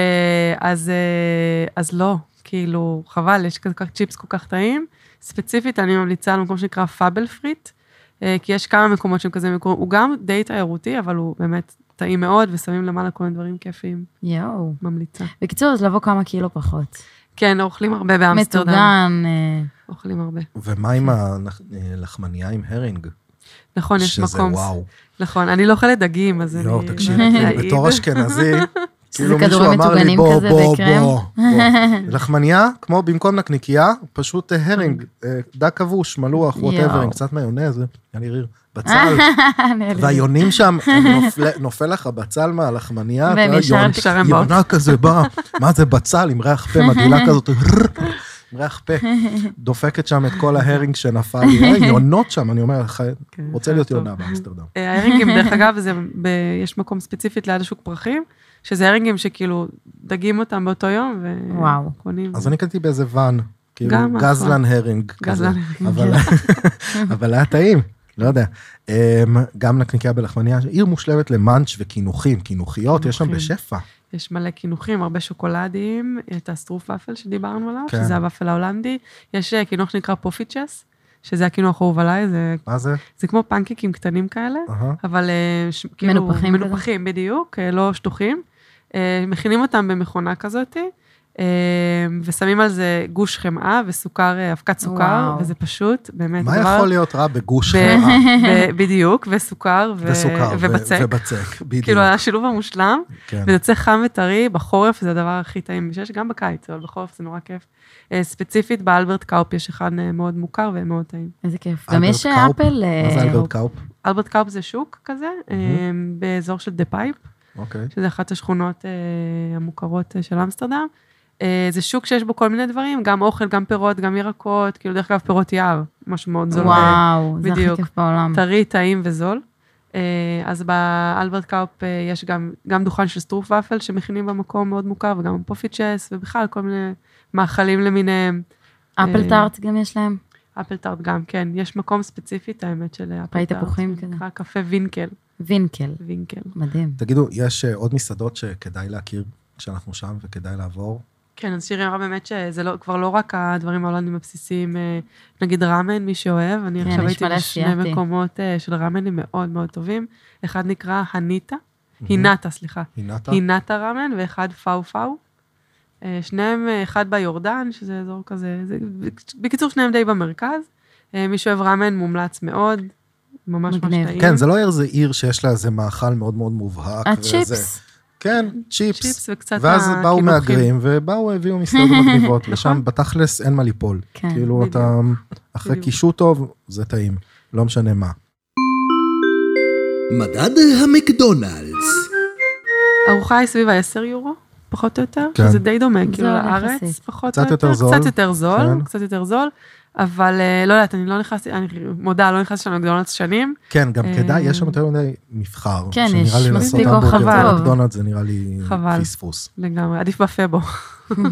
Speaker 2: אז, אה, אז לא, כאילו, חבל, יש כל כך צ'יפס כל כך טעים. ספציפית, אני ממליצה על מקום שנקרא פאבל פריט, אה, כי יש כמה מקומות שהם כזה מקומות, הוא גם די תיירותי, אבל הוא באמת טעים מאוד, ושמים למעלה כל מיני דברים כיפיים,
Speaker 4: יואו.
Speaker 2: ממליצה.
Speaker 4: בקיצור, אז לבוא כמה קילו פחות.
Speaker 2: כן, אוכלים הרבה באמסטרדם.
Speaker 4: מטוגן. אה,
Speaker 2: אוכלים הרבה.
Speaker 1: ומה עם הלחמנייה עם הרינג?
Speaker 2: כן. נכון, יש
Speaker 1: שזה
Speaker 2: מקום.
Speaker 1: וואו.
Speaker 2: נכון, אני לא אוכלת דגים, אז אני...
Speaker 1: לא, תקשיבי,
Speaker 2: לא יודעת
Speaker 1: כאילו,
Speaker 2: להעיד.
Speaker 1: בתור אשכנזי, כאילו
Speaker 4: כדורים
Speaker 1: מישהו אמר לי,
Speaker 4: מטוגנים
Speaker 1: בוא,
Speaker 4: כזה
Speaker 1: בוא,
Speaker 4: בקרם."
Speaker 1: בוא, בוא." לחמניה, כמו במקום נקניקייה, פשוט אה, הרינג, אה, דג כבוש, מלוח, ווטאבר,
Speaker 4: יואו.
Speaker 1: עם קצת מיונז, היה לי ריר, בצל,
Speaker 4: נעלב.
Speaker 1: והיונים שם, אה, נופל- נופל לך בצל מהלחמניה, אתה
Speaker 4: והם
Speaker 1: יודע,
Speaker 4: ישר
Speaker 1: יונ-
Speaker 2: נשארים
Speaker 1: יונה כזה בא, מה זה בצל, עם ריח פה, מגעילה כזאת, "רר", עם ריח פה, דופקת שם את כל ההרינג שנפל, לי. אה, יונות שם, אני אומר לך,
Speaker 2: כן,
Speaker 1: רוצה להיות
Speaker 2: טוב.
Speaker 1: יונה באמסטרדם.
Speaker 2: אה, ההרינגים, דרך אגב, זה ב... יש מקום ספציפית ליד השוק פרחים, שזה הרינגים שכאילו דגים אותם באותו יום,
Speaker 4: וואו.
Speaker 2: וקונים.
Speaker 1: אז אני קניתי באיזה ואן, כאילו
Speaker 2: גם אחלה.
Speaker 1: גזלן הרינג. כזה.
Speaker 2: גזלן
Speaker 1: אבל- אבל היה טעים, לא יודע. אמ, גם נקניקיה בלחמניה, עיר מושלמת למאנץ' וקינוחים, קינוחיות, יש שם
Speaker 2: קינוחים.
Speaker 1: בשפע.
Speaker 2: יש מלא קינוחים, הרבה שוקולדים, את הסטרוף ופל שדיברנו עליו,
Speaker 1: כן.
Speaker 2: שזה הוואפל ההולנדי. יש אה, קינוח שנקרא פופיצ'ס, שזה הקינוח האהוב עליי, זה,
Speaker 1: מה זה?
Speaker 2: זה כמו פנקקים קטנים כאלה,
Speaker 1: אהה.
Speaker 2: אבל אה, ש, כאילו...
Speaker 4: מנופחים כזה.
Speaker 2: מנופחים, בדיוק, אה, לא שטוחים. אה, מכינים אותם במכונה כזאת, אה, ושמים על זה גוש חמאה וסוכר, אה, אבקת סוכר,
Speaker 4: וואו.
Speaker 2: וזה פשוט, באמת,
Speaker 1: מה
Speaker 2: הדבר-
Speaker 1: יכול להיות רע בגוש
Speaker 2: ב-
Speaker 1: חמאה
Speaker 2: ב- בדיוק, וסוכר, ו-
Speaker 1: וסוכר ו-
Speaker 2: ובצק.
Speaker 1: ובצק, בדיוק.
Speaker 2: כאילו, השילוב המושלם,
Speaker 1: כן.
Speaker 2: וזה יוצא חם וטרי, בחורף זה הדבר הכי טעים שיש, גם בקיץ, אבל בחורף זה נורא כיף. אה, ספציפית, באלברט קאופ יש אחד אה, מאוד מוכר ומאוד טעים.
Speaker 4: איזה כיף. גם
Speaker 1: אלברט
Speaker 4: יש אה,
Speaker 1: קאופ?
Speaker 4: אפל... אה,
Speaker 1: מה זה אלברט
Speaker 2: אוקיי.
Speaker 1: קאופ?
Speaker 2: אלברט קאופ זה שוק כזה, אה, באזור של דה פייפ,
Speaker 1: אוקיי.
Speaker 2: שזה אחת השכונות אה, המוכרות אה, של אמסטרדם. אה, זה שוק שיש בו כל מיני דברים, גם אוכל, גם פירות, גם ירקות, כאילו דרך אגב פירות יער, משהו מאוד זול.
Speaker 1: לא-
Speaker 4: וואו, זה הכי
Speaker 2: בדיוק.
Speaker 4: כיף בעולם.
Speaker 2: טרי, טעים וזול. אה, אז באלברט קאופ אה, יש גם, גם דוכן של סטרוף ופל שמכינים במקום מאוד מוכר, וגם פופיצ'ס, ובכלל כל מיני מאכלים למיניהם.
Speaker 4: אפל
Speaker 2: אה,
Speaker 4: טארט גם יש להם.
Speaker 2: אפל טארט גם, כן. יש מקום ספציפית, האמת, של אפל
Speaker 4: פרי
Speaker 2: טארט.
Speaker 4: תפוחים
Speaker 2: זה
Speaker 4: כזה.
Speaker 2: נקרא קפה וינקל,
Speaker 4: וינקל.
Speaker 2: וינקל.
Speaker 4: מדהים.
Speaker 1: תגידו, יש אה, עוד מסעדות שכדאי להכיר כשאנחנו שם וכדאי לעבור?
Speaker 2: כן, אז שירי אמרה באמת שזה לא, כבר לא רק הדברים ההולנדים הבסיסיים, אה, נגיד ראמן, מי שאוהב, אני
Speaker 4: כן,
Speaker 2: עכשיו
Speaker 4: יש
Speaker 2: הייתי
Speaker 4: מלא
Speaker 2: בשני
Speaker 4: אסיאתי.
Speaker 2: מקומות אה, של ראמנים מאוד מאוד טובים. אחד נקרא הניטה, הינטה, סליחה.
Speaker 1: הינתה?
Speaker 2: הינטה ראמן ואחד פאו פאו. אה, שניהם, אה, אחד ביורדן, שזה אזור כזה, זה, בקיצור, שניהם די במרכז. אה, מי שאוהב ראמן מומלץ מאוד, ממש ממש
Speaker 4: מגניב.
Speaker 2: טעים.
Speaker 1: כן, זה לא איזה עיר שיש לה איזה מאכל מאוד מאוד מובהק.
Speaker 4: אה,
Speaker 1: וזה-
Speaker 4: הצ'יפס.
Speaker 1: כן, צ'יפס.
Speaker 2: אה, צ'יפס וקצת
Speaker 1: ואז באו
Speaker 2: הקינוחים.
Speaker 1: מהגרים, ובאו, הביאו מסעדות מגניבות,
Speaker 2: נכון.
Speaker 1: ושם בתכלס אין מה ליפול.
Speaker 4: כן,
Speaker 1: כאילו, אתה אחרי
Speaker 2: בדיוק.
Speaker 1: קישוט טוב, זה טעים, לא משנה מה.
Speaker 3: מדד המקדונלדס.
Speaker 2: ארוחה היא סביב ה-10 יורו, פחות או יותר,
Speaker 1: כן.
Speaker 2: שזה די דומה, כאילו
Speaker 4: זול
Speaker 2: לארץ,
Speaker 4: יחסית.
Speaker 2: פחות
Speaker 1: קצת
Speaker 2: או
Speaker 1: יותר
Speaker 2: יותר.
Speaker 1: זול.
Speaker 2: קצת יותר זול,
Speaker 1: כן.
Speaker 2: קצת יותר זול. אבל אה, לא יודעת, אני לא נכנסתי, אני מודה, לא נכנסתי שם למקדונלדס שנים.
Speaker 1: כן, גם
Speaker 2: אה,
Speaker 1: כדאי, יש שם יותר מדי מבחר.
Speaker 4: כן,
Speaker 1: שנראה
Speaker 4: יש
Speaker 1: לי לעשות
Speaker 4: מספיק
Speaker 1: המבורגר
Speaker 4: אוכל
Speaker 1: על
Speaker 4: טוב.
Speaker 1: מקדונלדס, זה נראה לי
Speaker 2: חבל.
Speaker 1: פספוס.
Speaker 2: לגמרי, עדיף בפבו.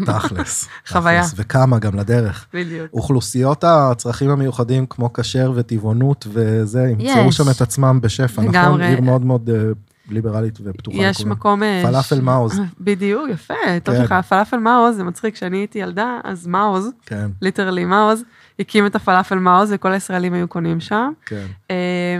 Speaker 1: תכלס.
Speaker 2: חוויה.
Speaker 1: תכלס, וכמה גם לדרך.
Speaker 2: בדיוק.
Speaker 1: אוכלוסיות הצרכים המיוחדים כמו כשר וטבעונות וזה, ימצאו
Speaker 4: יש.
Speaker 1: שם את עצמם בשפע, נכון?
Speaker 2: לגמרי.
Speaker 1: עיר מאוד מאוד אה, ליברלית ופתוחה.
Speaker 2: יש
Speaker 1: לכולם.
Speaker 2: מקום... אה,
Speaker 1: פלאפל
Speaker 2: ש-
Speaker 1: מעוז.
Speaker 2: בדיוק, יפה, טוב
Speaker 1: כן.
Speaker 2: שלך. פלאפל מעוז, זה מצחיק, כשאני הייתי ילדה, אז מעוז,
Speaker 1: כן,
Speaker 2: ליטרלי מעוז, הקים את הפלאפל מעוז וכל הישראלים היו קונים שם.
Speaker 1: כן.
Speaker 2: אה,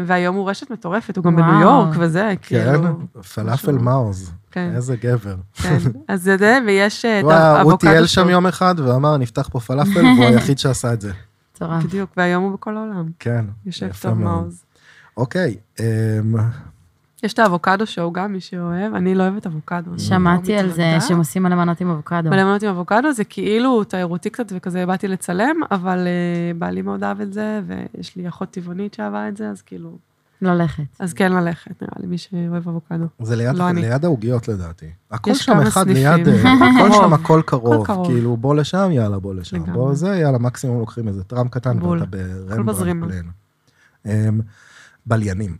Speaker 2: והיום הוא רשת מטורפת, הוא גם
Speaker 4: וואו.
Speaker 2: בניו יורק וזה,
Speaker 1: כן,
Speaker 2: כאילו.
Speaker 1: פלאפל מעוז.
Speaker 2: כן,
Speaker 1: איזה גבר.
Speaker 2: כן. אז זה זה, ויש אה, את
Speaker 1: וואו, הוא
Speaker 2: האבוקדו.
Speaker 1: טייל
Speaker 2: שהוא-
Speaker 1: שם יום אחד ואמר, נפתח פה פלאפל, והוא היחיד שעשה את זה.
Speaker 4: מטורף.
Speaker 2: בדיוק, והיום הוא בכל העולם.
Speaker 1: כן,
Speaker 2: יושב
Speaker 1: יפה
Speaker 2: טוב
Speaker 1: מאוד.
Speaker 2: מעוז.
Speaker 1: אוקיי, אמ,
Speaker 2: יש את האבוקדו שואו גם, מי שאוהב, אני לא אוהבת אבוקדו. אני
Speaker 4: שמעתי
Speaker 2: לא
Speaker 4: על זה
Speaker 2: מתוודה.
Speaker 4: שהם עושים על המנות עם אבוקדו.
Speaker 2: מלמנות עם אבוקדו זה כאילו תיירותי קצת וכזה באתי לצלם, אבל אה, בעלי מאוד אהב את זה, ויש לי אחות טבעונית שאהבה את זה, אז כאילו,
Speaker 4: ללכת.
Speaker 2: אז כן ללכת, נראה לי, מי שאוהב אבוקדו.
Speaker 1: זה ליד-
Speaker 2: לא אני.
Speaker 1: ליד העוגיות לדעתי. הכל
Speaker 2: יש
Speaker 1: שם
Speaker 2: כמה
Speaker 1: אחד
Speaker 2: סניפים.
Speaker 1: ליד, אה, הכל שם
Speaker 2: קרוב.
Speaker 1: הכל קרוב.
Speaker 2: קרוב.
Speaker 1: כאילו, בוא לשם, יאללה, בוא לשם.
Speaker 2: לגמרי.
Speaker 1: בוא זה, יאללה, מקסימום לוקחים איזה טראם קטן,
Speaker 2: בול.
Speaker 1: ואתה ברמברנד
Speaker 2: בזרימה.
Speaker 1: פלן. אמ, בליינים.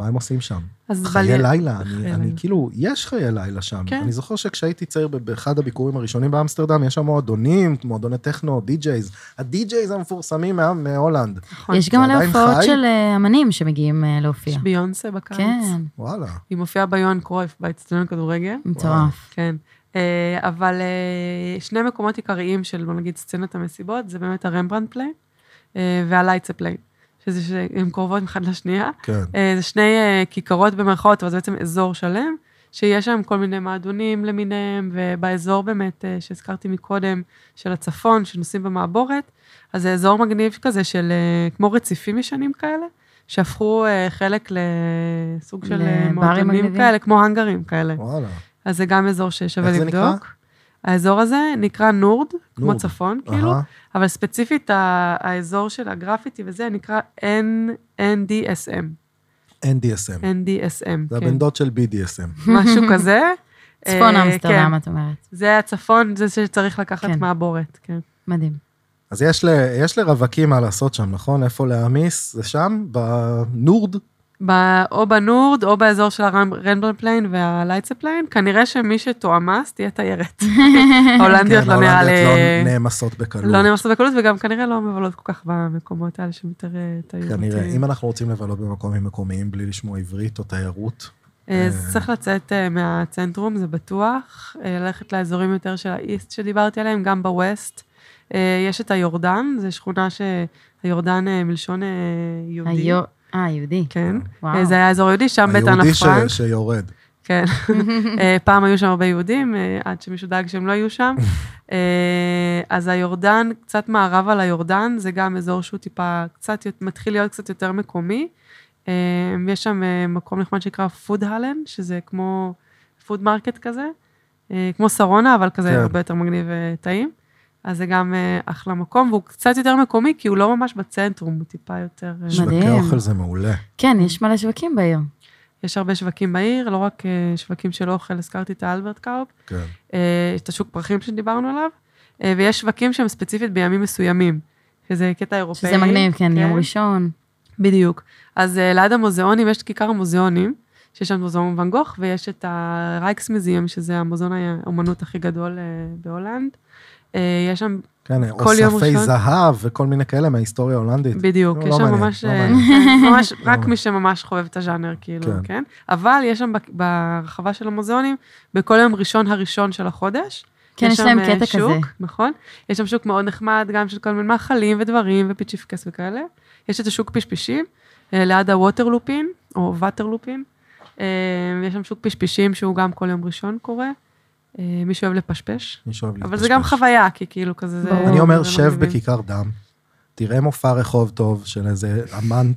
Speaker 1: מה הם עושים שם?
Speaker 2: אז
Speaker 1: חיי לילה,
Speaker 2: חיי
Speaker 1: אני,
Speaker 2: לילה.
Speaker 1: אני כאילו, יש חיי לילה שם.
Speaker 2: כן.
Speaker 1: אני זוכר שכשהייתי צעיר ב- באחד הביקורים הראשונים באמסטרדם, יש שם מועדונים, מועדוני טכנו, די-ג'ייז. הדי-ג'ייז המפורסמים מה- מהולנד.
Speaker 2: נכון.
Speaker 4: יש
Speaker 1: זה
Speaker 4: גם מלא
Speaker 1: עדיין
Speaker 4: הופעות
Speaker 1: חי?
Speaker 4: של אה, אמנים שמגיעים אה, להופיע.
Speaker 2: יש ביונסה בקיץ.
Speaker 4: כן,
Speaker 1: וואלה.
Speaker 2: היא מופיעה ביון קרויף, באצטדיון כדורגל.
Speaker 4: מטורף.
Speaker 2: כן. אה, אבל אה, שני מקומות עיקריים של, בוא נגיד, סצנת המסיבות, זה באמת הרמברנד פליי אה, והלייצה פליי, שזה שהן קרובות אחד לשנייה.
Speaker 1: כן.
Speaker 2: אה, זה שני אה, כיכרות במרכאות, אבל זה בעצם אזור שלם, שיש שם כל מיני מעדונים למיניהם, ובאזור באמת אה, שהזכרתי מקודם, של הצפון, שנוסעים במעבורת, אז זה אזור מגניב כזה של אה, כמו רציפים ישנים כאלה, שהפכו אה, חלק לסוג של אה,
Speaker 4: לברים
Speaker 2: מועדונים
Speaker 4: מגניבים.
Speaker 2: כאלה, כמו הנגרים כאלה.
Speaker 1: וואלה.
Speaker 2: אז זה גם אזור ששווה
Speaker 1: איך זה
Speaker 2: לבדוק.
Speaker 1: נקרא?
Speaker 2: האזור הזה נקרא נורד, כמו
Speaker 1: נורד.
Speaker 2: צפון, כאילו,
Speaker 1: אהה.
Speaker 2: אבל ספציפית ה- האזור של הגרפיטי וזה נקרא N- NDSM.
Speaker 1: NDSM.
Speaker 2: NDSM,
Speaker 1: זה
Speaker 2: כן.
Speaker 1: הבן דוד של BDSM.
Speaker 2: משהו כזה.
Speaker 4: צפון
Speaker 2: אה,
Speaker 4: אמסטרדם,
Speaker 2: כן.
Speaker 4: את אומרת.
Speaker 2: זה הצפון, זה שצריך לקחת
Speaker 4: כן.
Speaker 2: מעבורת, כן.
Speaker 4: מדהים.
Speaker 1: אז יש, ל, יש לרווקים מה לעשות שם, נכון? איפה להעמיס? זה שם? בנורד?
Speaker 2: ב- או בנורד, או באזור של הרנבל פליין והלייצה פליין, כנראה שמי שתועמס תהיה תיירת. ההולנדיות לא נראה
Speaker 1: כן, ההולנדיות
Speaker 2: לי...
Speaker 1: לא נעמסות בקלות.
Speaker 2: לא נמסות בקלות, וגם כנראה לא מבלות כל כך במקומות האלה שהם יותר אה, תיירותיים.
Speaker 1: כנראה. אם אנחנו רוצים לבלות במקומים מקומיים בלי לשמוע עברית או תיירות,
Speaker 2: אה, אז צריך לצאת אה, מהצנטרום, זה בטוח. אה, ללכת לאזורים יותר של האיסט שדיברתי עליהם, גם בווסט. אה, יש את היורדן, זו שכונה שהיורדן אה, מלשון אה, יהודי.
Speaker 4: היו- אה, יהודי.
Speaker 2: כן.
Speaker 4: וואו.
Speaker 2: אה, זה היה אזור יהודי, שם בית
Speaker 1: היהודי
Speaker 2: אנה
Speaker 1: ש,
Speaker 2: פרנק.
Speaker 1: שיורד.
Speaker 2: כן. אה, פעם היו שם הרבה יהודים, אה, עד שמישהו דאג שהם לא יהיו שם. אה, אז היורדן, קצת מערבה ליורדן, זה גם אזור שהוא טיפה, קצת, יות- מתחיל להיות קצת יותר מקומי. אה, יש שם אה, מקום נחמד שנקרא פוד הלן, שזה כמו פוד מרקט כזה, אה, כמו שרונה, אבל כזה
Speaker 1: כן.
Speaker 2: הרבה יותר מגניב וטעים. אז זה גם אה, אחלה מקום, והוא קצת יותר מקומי, כי הוא לא ממש בצנטרום, הוא טיפה יותר... אה,
Speaker 1: שווקי
Speaker 4: מדהים.
Speaker 1: אוכל זה מעולה.
Speaker 4: כן, יש מלא שווקים בעיר.
Speaker 2: אוקיי. יש הרבה שווקים בעיר, לא רק אה, שווקים של אוכל, הזכרתי את האלברט קאופ.
Speaker 1: כן.
Speaker 2: אה, את השוק פרחים שדיברנו עליו, אה, ויש שווקים שהם ספציפית בימים מסוימים, שזה קטע אירופאי.
Speaker 4: שזה מגניב, כן, יום ראשון.
Speaker 2: בדיוק. אז אה, ליד המוזיאונים, יש את כיכר המוזיאונים, שיש שם מוזיאון ואן גוך, ויש את הרייקסמיזיום, שזה המוזיאון האומנות הכי גדול אה, בהולנד. אה, יש שם,
Speaker 1: כן,
Speaker 2: כל יום
Speaker 1: אוספי
Speaker 2: ראשון.
Speaker 1: זהב וכל מיני כאלה מההיסטוריה ההולנדית.
Speaker 2: בדיוק,
Speaker 1: לא
Speaker 2: יש שם
Speaker 1: מעניין,
Speaker 2: ממש,
Speaker 1: לא
Speaker 2: אה,
Speaker 1: מעניין. לא
Speaker 2: כן, ממש, רק
Speaker 1: מעניין.
Speaker 2: מי שממש חובב את הז'אנר, כאילו,
Speaker 1: כן.
Speaker 2: כן? אבל יש שם ב- ברחבה של המוזיאונים, בכל יום ראשון הראשון של החודש,
Speaker 4: כן, יש להם
Speaker 2: שם, אה,
Speaker 4: קטע
Speaker 2: שוק,
Speaker 4: כזה.
Speaker 2: נכון. יש שם שוק מאוד נחמד, גם של כל מיני מאכלים ודברים ופיצ'יפקס וכאלה. יש את השוק פשפשים, אה, ליד הווטרלופין, או וטרלופין. אה, יש שם שוק פשפשים שהוא גם כל יום ראשון קורה. אה, מי שאוהב לפשפש.
Speaker 1: מי שאוהב
Speaker 2: אבל זה גם
Speaker 1: להתפשפש.
Speaker 2: חוויה, כי כאילו כזה... זה-
Speaker 4: ברור.
Speaker 1: אני אומר,
Speaker 2: זה
Speaker 1: שב
Speaker 2: מגניבים.
Speaker 1: בכיכר דם, תראה מופע רחוב טוב של איזה אמן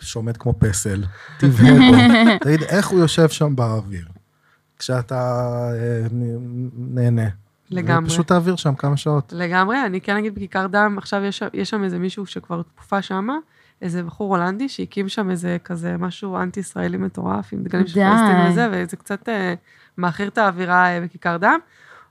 Speaker 1: שעומד כמו פסל, תבהה בו, תגיד, איך הוא יושב שם באוויר, כשאתה אה, נהנה.
Speaker 2: לגמרי.
Speaker 1: פשוט תעביר שם כמה שעות.
Speaker 2: לגמרי, אני כן אגיד בכיכר דם, עכשיו יש, יש שם איזה מישהו שכבר תקופה שמה, איזה בחור הולנדי שהקים שם איזה כזה משהו אנטי-ישראלי מטורף, עם דגלים של
Speaker 4: די.
Speaker 2: פלסטין וזה, וזה קצת אה, מאחיר את האווירה אה, בכיכר דם.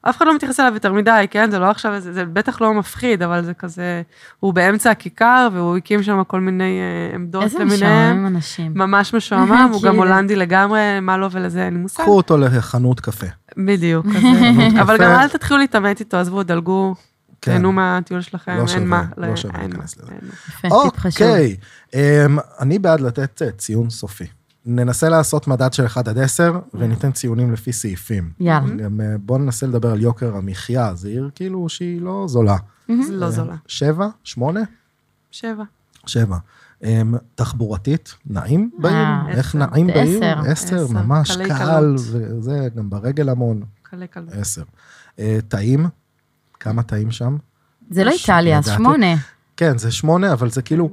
Speaker 2: אף אחד לא מתייחס אליו יותר מדי, כן? זה לא עכשיו, זה, זה בטח לא מפחיד, אבל זה כזה, הוא באמצע הכיכר, והוא הקים שם כל מיני אה, עמדות
Speaker 4: איזה
Speaker 2: למיניהם.
Speaker 4: משועמם אנשים.
Speaker 2: ממש משועמם, הוא גם
Speaker 4: כאילו.
Speaker 2: הולנדי לגמרי, מה לו ולזה אין לי מושג.
Speaker 1: קחו אותו לחנות קפה.
Speaker 2: בדיוק, כזה. אבל
Speaker 1: קפה.
Speaker 2: גם אל תתחילו להתעמת איתו, עזבו, דלגו,
Speaker 1: כן.
Speaker 2: תהנו מהטיול שלכם,
Speaker 1: לא שווה,
Speaker 2: אין מה.
Speaker 1: לא
Speaker 2: אין
Speaker 1: שווה
Speaker 2: מה,
Speaker 1: להיכנס לזה.
Speaker 2: אין מה.
Speaker 4: יפה, טיפ חשוב.
Speaker 1: אוקיי, אמ, אני בעד לתת אה, ציון סופי. ננסה לעשות מדד של 1 עד 10, וניתן ציונים לפי סעיפים.
Speaker 4: יאללה.
Speaker 1: גם אה, בואו ננסה לדבר על יוקר המחיה, זו עיר כאילו שהיא לא זולה.
Speaker 2: זה לא זולה.
Speaker 1: שבע? שמונה?
Speaker 2: שבע.
Speaker 1: שבע. אמ, תחבורתית, נעים בעיר?
Speaker 4: אה,
Speaker 1: איך
Speaker 2: עשר.
Speaker 1: נעים בעיר?
Speaker 4: עשר.
Speaker 1: עשר,
Speaker 2: עשר,
Speaker 1: ממש
Speaker 2: קלי
Speaker 1: קל,
Speaker 2: קלות.
Speaker 1: וזה, גם ברגל המון,
Speaker 2: קלה קלה.
Speaker 1: עשר. אה, טעים? כמה טעים שם?
Speaker 4: זה לא
Speaker 1: משהו,
Speaker 4: איטליה, אז
Speaker 1: לדעתי.
Speaker 4: שמונה.
Speaker 1: כן, זה שמונה, אבל זה כאילו,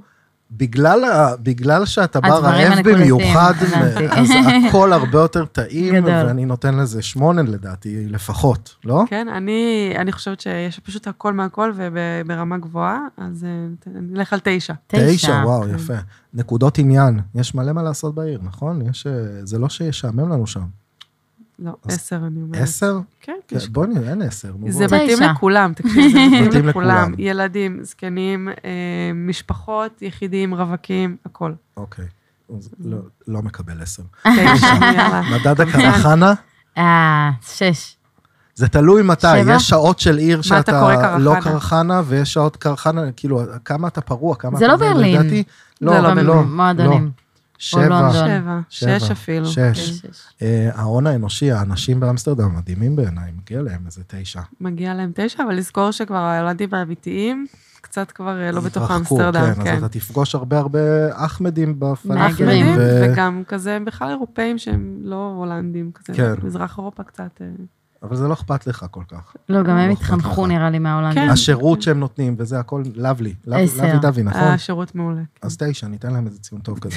Speaker 1: בגלל, ה- בגלל שאתה בא
Speaker 4: הדברים
Speaker 1: רעב
Speaker 4: הנקודתיים,
Speaker 1: במיוחד,
Speaker 4: הבנתי.
Speaker 1: אז הכל הרבה יותר טעים,
Speaker 4: גדול.
Speaker 1: ואני נותן לזה שמונה לדעתי, לפחות, לא?
Speaker 2: כן, אני, אני חושבת שיש פשוט הכל מהכל וברמה גבוהה, אז אה, ת- נלך על תשע.
Speaker 1: תשע,
Speaker 4: תשע.
Speaker 1: וואו,
Speaker 2: כן.
Speaker 1: יפה. נקודות עניין, יש מלא מה לעשות בעיר, נכון? יש, אה, זה לא שישעמם לנו שם.
Speaker 2: לא,
Speaker 1: אז-
Speaker 2: עשר אני אומרת.
Speaker 1: עשר?
Speaker 2: כן,
Speaker 1: כן,
Speaker 2: יש-
Speaker 1: בואי נראה, אין עשר. נו,
Speaker 2: זה
Speaker 1: בואי.
Speaker 4: ב-
Speaker 2: מתאים
Speaker 4: תשע.
Speaker 2: לכולם, תקשיב, זה מתאים
Speaker 1: מתאים
Speaker 2: לכולם.
Speaker 1: לכולם.
Speaker 2: ילדים, זקנים, אה, משפחות, יחידים, רווקים, הכל.
Speaker 1: אוקיי. אז לא- לא מקבל עשר.
Speaker 2: תשע, יאללה.
Speaker 1: מדד
Speaker 2: אוקיי.
Speaker 1: הקרחנה,
Speaker 4: אה, שש.
Speaker 1: זה תלוי מתי.
Speaker 4: שבע?
Speaker 1: יש שעות של עיר
Speaker 2: אתה קורא
Speaker 1: שאתה
Speaker 2: קרחנה?
Speaker 1: לא קרחנה, ויש שעות קרחנה, כאילו, כמה אתה פרוע, כמה
Speaker 4: זה
Speaker 1: אתה...
Speaker 4: לא ברלין.
Speaker 1: לדעתי, לא,
Speaker 2: זה לא
Speaker 1: אבל
Speaker 2: ברלין.
Speaker 1: לא.
Speaker 4: מועדונים.
Speaker 1: לא. שבע.
Speaker 4: לונדון.
Speaker 2: שבע,
Speaker 1: שבע,
Speaker 2: שש אפילו.
Speaker 1: לא, שש.
Speaker 2: כן.
Speaker 4: שש.
Speaker 1: אה, ההון האנושי, האנשים באמסטרדם מדהימים בעיניי, מגיע להם איזה תשע.
Speaker 2: מגיע להם תשע, אבל לזכור שכבר הילדים האמיתיים, קצת כבר אה, לא בתוך
Speaker 1: התרחקו,
Speaker 2: אמסטרדם,
Speaker 1: כן,
Speaker 2: כן.
Speaker 1: אז אתה תפגוש הרבה הרבה אחמדים
Speaker 4: מהגרים.
Speaker 1: בפלאפלים.
Speaker 2: אחמדים,
Speaker 1: ו-
Speaker 2: וגם כזה בכלל אירופאים שהם לא הולנדים, כזה
Speaker 1: כן.
Speaker 2: מזרח אירופה קצת. אה,
Speaker 1: אבל זה לא אכפת לך כל כך.
Speaker 4: לא, גם הם
Speaker 1: לא אכפת
Speaker 4: התחנכו
Speaker 1: לך.
Speaker 4: נראה לי אה, מההולנדים.
Speaker 2: כן.
Speaker 1: השירות שהם נותנים, וזה הכל לאבלי. לאב-
Speaker 4: עשר.
Speaker 1: לאבי דבי, נכון?
Speaker 2: היה שירות מעולה.
Speaker 1: אז
Speaker 4: אוקיי.
Speaker 1: תשע, ניתן להם איזה ציון טוב כזה.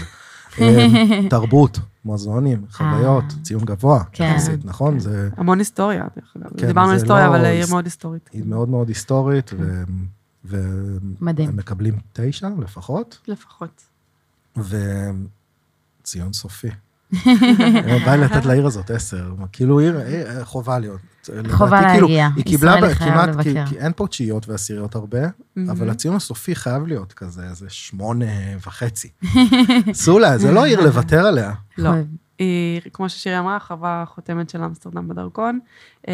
Speaker 1: אה, תרבות, מוזיאונים, חוויות, ציון גבוה,
Speaker 4: אה. כן.
Speaker 1: יחסית, נכון? זה
Speaker 2: המון היסטוריה, דרך אגב.
Speaker 1: כן,
Speaker 2: דיברנו
Speaker 1: זה
Speaker 2: על היסטוריה,
Speaker 1: לא-
Speaker 2: אבל העיר מאוד היסטורית.
Speaker 1: היא מאוד מאוד היסטורית, ו- ו-
Speaker 4: מדהים.
Speaker 1: הם מקבלים תשע לפחות,
Speaker 2: לפחות.
Speaker 1: וציון סופי. אה, בא לי לתת לעיר הזאת עשר, כאילו עיר, אה, חובה להיות.
Speaker 4: חובה
Speaker 1: לדעתי, כאילו,
Speaker 4: להגיע.
Speaker 1: היא קיבלה
Speaker 4: ישראלי
Speaker 1: ב-
Speaker 4: חייב
Speaker 1: כמעט,
Speaker 4: לבקר.
Speaker 1: כי- כי אין פה תשיעיות ועשיריות הרבה, אבל הציון הסופי חייב להיות כזה, איזה שמונה וחצי. סולה, זה לא עיר לוותר עליה.
Speaker 2: לא.
Speaker 4: חייב.
Speaker 2: היא, כמו ששירי אמרה, חווה חותמת של אמסטרדם בדרכון. אה,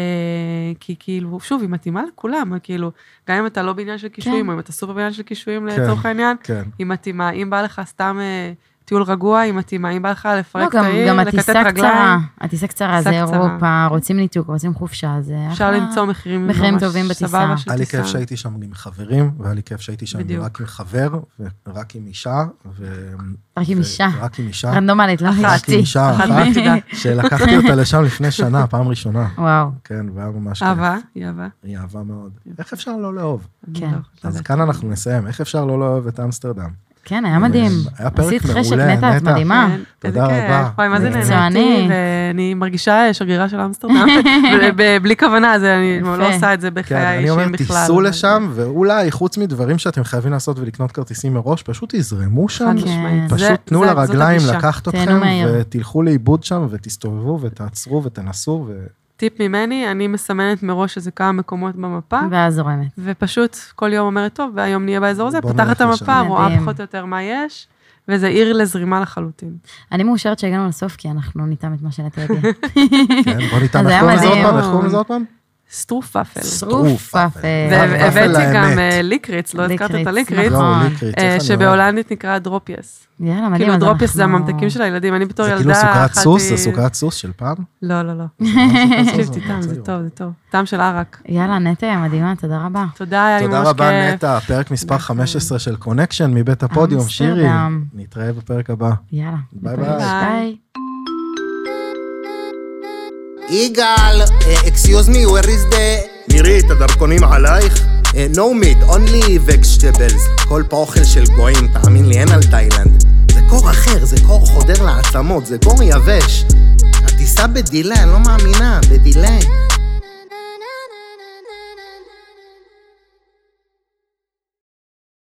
Speaker 2: כי כאילו, שוב, היא מתאימה לכולם, כאילו, גם אם אתה לא בעניין של קישואים, או אם אתה סופר בעניין של קישואים לצורך העניין,
Speaker 1: כן.
Speaker 2: היא מתאימה. אם בא לך סתם אה, טיול רגוע, היא מתאימה. אם בא לך
Speaker 4: לא,
Speaker 2: לפרק את
Speaker 4: גם-
Speaker 2: העיר,
Speaker 4: גם
Speaker 2: לקטט
Speaker 4: הטיסה קצרה.
Speaker 2: רגליים,
Speaker 4: הטיסה קצרה,
Speaker 2: טיסה
Speaker 4: זה
Speaker 2: קצרה.
Speaker 4: אירופה, רוצים ניתוק, רוצים חופשה, זה אחלה.
Speaker 2: אפשר למצוא מחירים
Speaker 4: מחירים
Speaker 2: ממש
Speaker 4: טובים בטיסה.
Speaker 2: סבבה של
Speaker 1: היה לי כיף
Speaker 2: טיסה.
Speaker 1: שהייתי שם עם חברים, והיה לי כיף שהייתי שם
Speaker 2: בדיוק.
Speaker 1: רק עם חבר, ורק עם אישה, ו...
Speaker 4: רק עם
Speaker 1: ו-
Speaker 4: אישה.
Speaker 1: רק עם אישה.
Speaker 2: אמ-
Speaker 4: רנדומלית, לא
Speaker 2: אחת.
Speaker 1: רק עם
Speaker 4: חשבתי.
Speaker 1: אישה
Speaker 2: אחת
Speaker 1: אחת,
Speaker 2: ביחידה.
Speaker 1: שלקחתי אותה לשם לפני שנה, פעם ראשונה.
Speaker 4: וואו,
Speaker 1: כן, והיה ממש כיף.
Speaker 2: אוקיי. אהבה, היא אהבה.
Speaker 1: היא אהבה מאוד. איך אפשר לא לאהוב?
Speaker 2: אני
Speaker 4: כן.
Speaker 2: לא יכולה
Speaker 1: אז
Speaker 2: לדעת.
Speaker 1: כאן אנחנו נסיים. איך אפשר לא לאהוב את אמסטרדם?
Speaker 4: כן, היה מדהים.
Speaker 1: היה פרק
Speaker 4: עשית חשק,
Speaker 1: מעולה,
Speaker 4: נטע, את
Speaker 1: נטע.
Speaker 4: מדהימה.
Speaker 2: כן,
Speaker 1: תודה
Speaker 2: איזה כיף.
Speaker 1: רבה.
Speaker 2: וואי, מה זה נהניתי,
Speaker 4: מקצוענית.
Speaker 2: ואני מרגישה שגרירה של אמסטרדם, ב- ב- בלי כוונה, זה- אני
Speaker 4: יפה.
Speaker 2: לא עושה את זה
Speaker 1: כן,
Speaker 2: בחיי
Speaker 1: אני
Speaker 2: האישיים בכלל.
Speaker 1: אומר, תיסעו
Speaker 2: אבל-
Speaker 1: לשם, ואולי, חוץ מדברים שאתם חייבים לעשות ולקנות כרטיסים מראש, פשוט תזרמו
Speaker 2: חד
Speaker 4: כן.
Speaker 1: שם,
Speaker 2: משמעית. אוקיי. זה-
Speaker 1: פשוט תנו
Speaker 2: זה- זאת
Speaker 1: לרגליים
Speaker 2: הגישה.
Speaker 1: לקחת
Speaker 4: תהנו
Speaker 1: אתכם,
Speaker 4: מהעיר.
Speaker 1: ותלכו לאיבוד שם, ותסתובבו, ותעצרו, ותנסו, ו...
Speaker 2: טיפ ממני, אני מסמנת מראש איזה כמה מקומות במפה,
Speaker 4: ואז זורמת.
Speaker 2: ופשוט כל יום אומרת, טוב, והיום נהיה באזור הזה,
Speaker 1: בוא
Speaker 2: פותחת
Speaker 1: נלך
Speaker 2: את
Speaker 1: לשם."
Speaker 2: המפה, רואה
Speaker 4: מדהים.
Speaker 2: פחות או יותר מה יש, וזה עיר לזרימה לחלוטין.
Speaker 4: אני מאושרת שהגענו לסוף, כי אנחנו ניתן את מה שנטע הגיע.
Speaker 1: כן, בוא ניתן, איך
Speaker 4: אז היה
Speaker 1: קוראים לזה עוד
Speaker 4: מדהים.
Speaker 1: פעם? איך קוראים לזה עוד פעם?
Speaker 4: אה,
Speaker 2: סטרופאפל.
Speaker 1: סטרופאפל.
Speaker 4: סטרופאפל.
Speaker 2: והבאתי
Speaker 1: פאפל
Speaker 2: גם
Speaker 1: האמת.
Speaker 2: אה, ליקריץ, לא הזכרת את
Speaker 4: ליקריץ,
Speaker 2: הליקריץ,
Speaker 4: נכון.
Speaker 1: לא, ליקריץ,
Speaker 2: אה,
Speaker 1: איך אני אוהב.
Speaker 2: שבהולנדית נקרא דרופייס.
Speaker 4: יאללה, מדהים. נכון.
Speaker 2: כאילו
Speaker 4: אז
Speaker 2: דרופייס זה
Speaker 4: אנחנו-
Speaker 2: הממתקים של הילדים, אני בתור
Speaker 1: זה
Speaker 2: ילדה
Speaker 1: כאילו סוכרת
Speaker 2: אכלתי-
Speaker 1: סוס, זה סוכרת סוס של פעם?
Speaker 2: לא, לא, לא. תקשיב, טעם, זה טוב, זה טוב. טעם של ערק.
Speaker 4: יאללה, נטע, מדהימה, תודה רבה.
Speaker 2: תודה, היה לי
Speaker 1: תודה
Speaker 2: ממש כיף.
Speaker 1: רבה, נטע, פרק
Speaker 2: אה,
Speaker 1: מספר 15 של קונקשן מבית הפודיום. שירי,
Speaker 4: אמסטרדם.
Speaker 1: נתראה בפרק הבא.
Speaker 4: יאללה.
Speaker 1: ביי
Speaker 4: ניפגש.
Speaker 2: ביי.
Speaker 4: ביי.
Speaker 3: יגאל, אקסיוז מי, where is the... מירי, את הדרכונים עלייך? No meat, only vegetables. כל פה אוכל של גויים, תאמין לי, אין על תאילנד. זה קור אחר, זה קור חודר לעצמות, זה קור יבש. הטיסה בדיליי, אני לא מאמינה, בדיליי.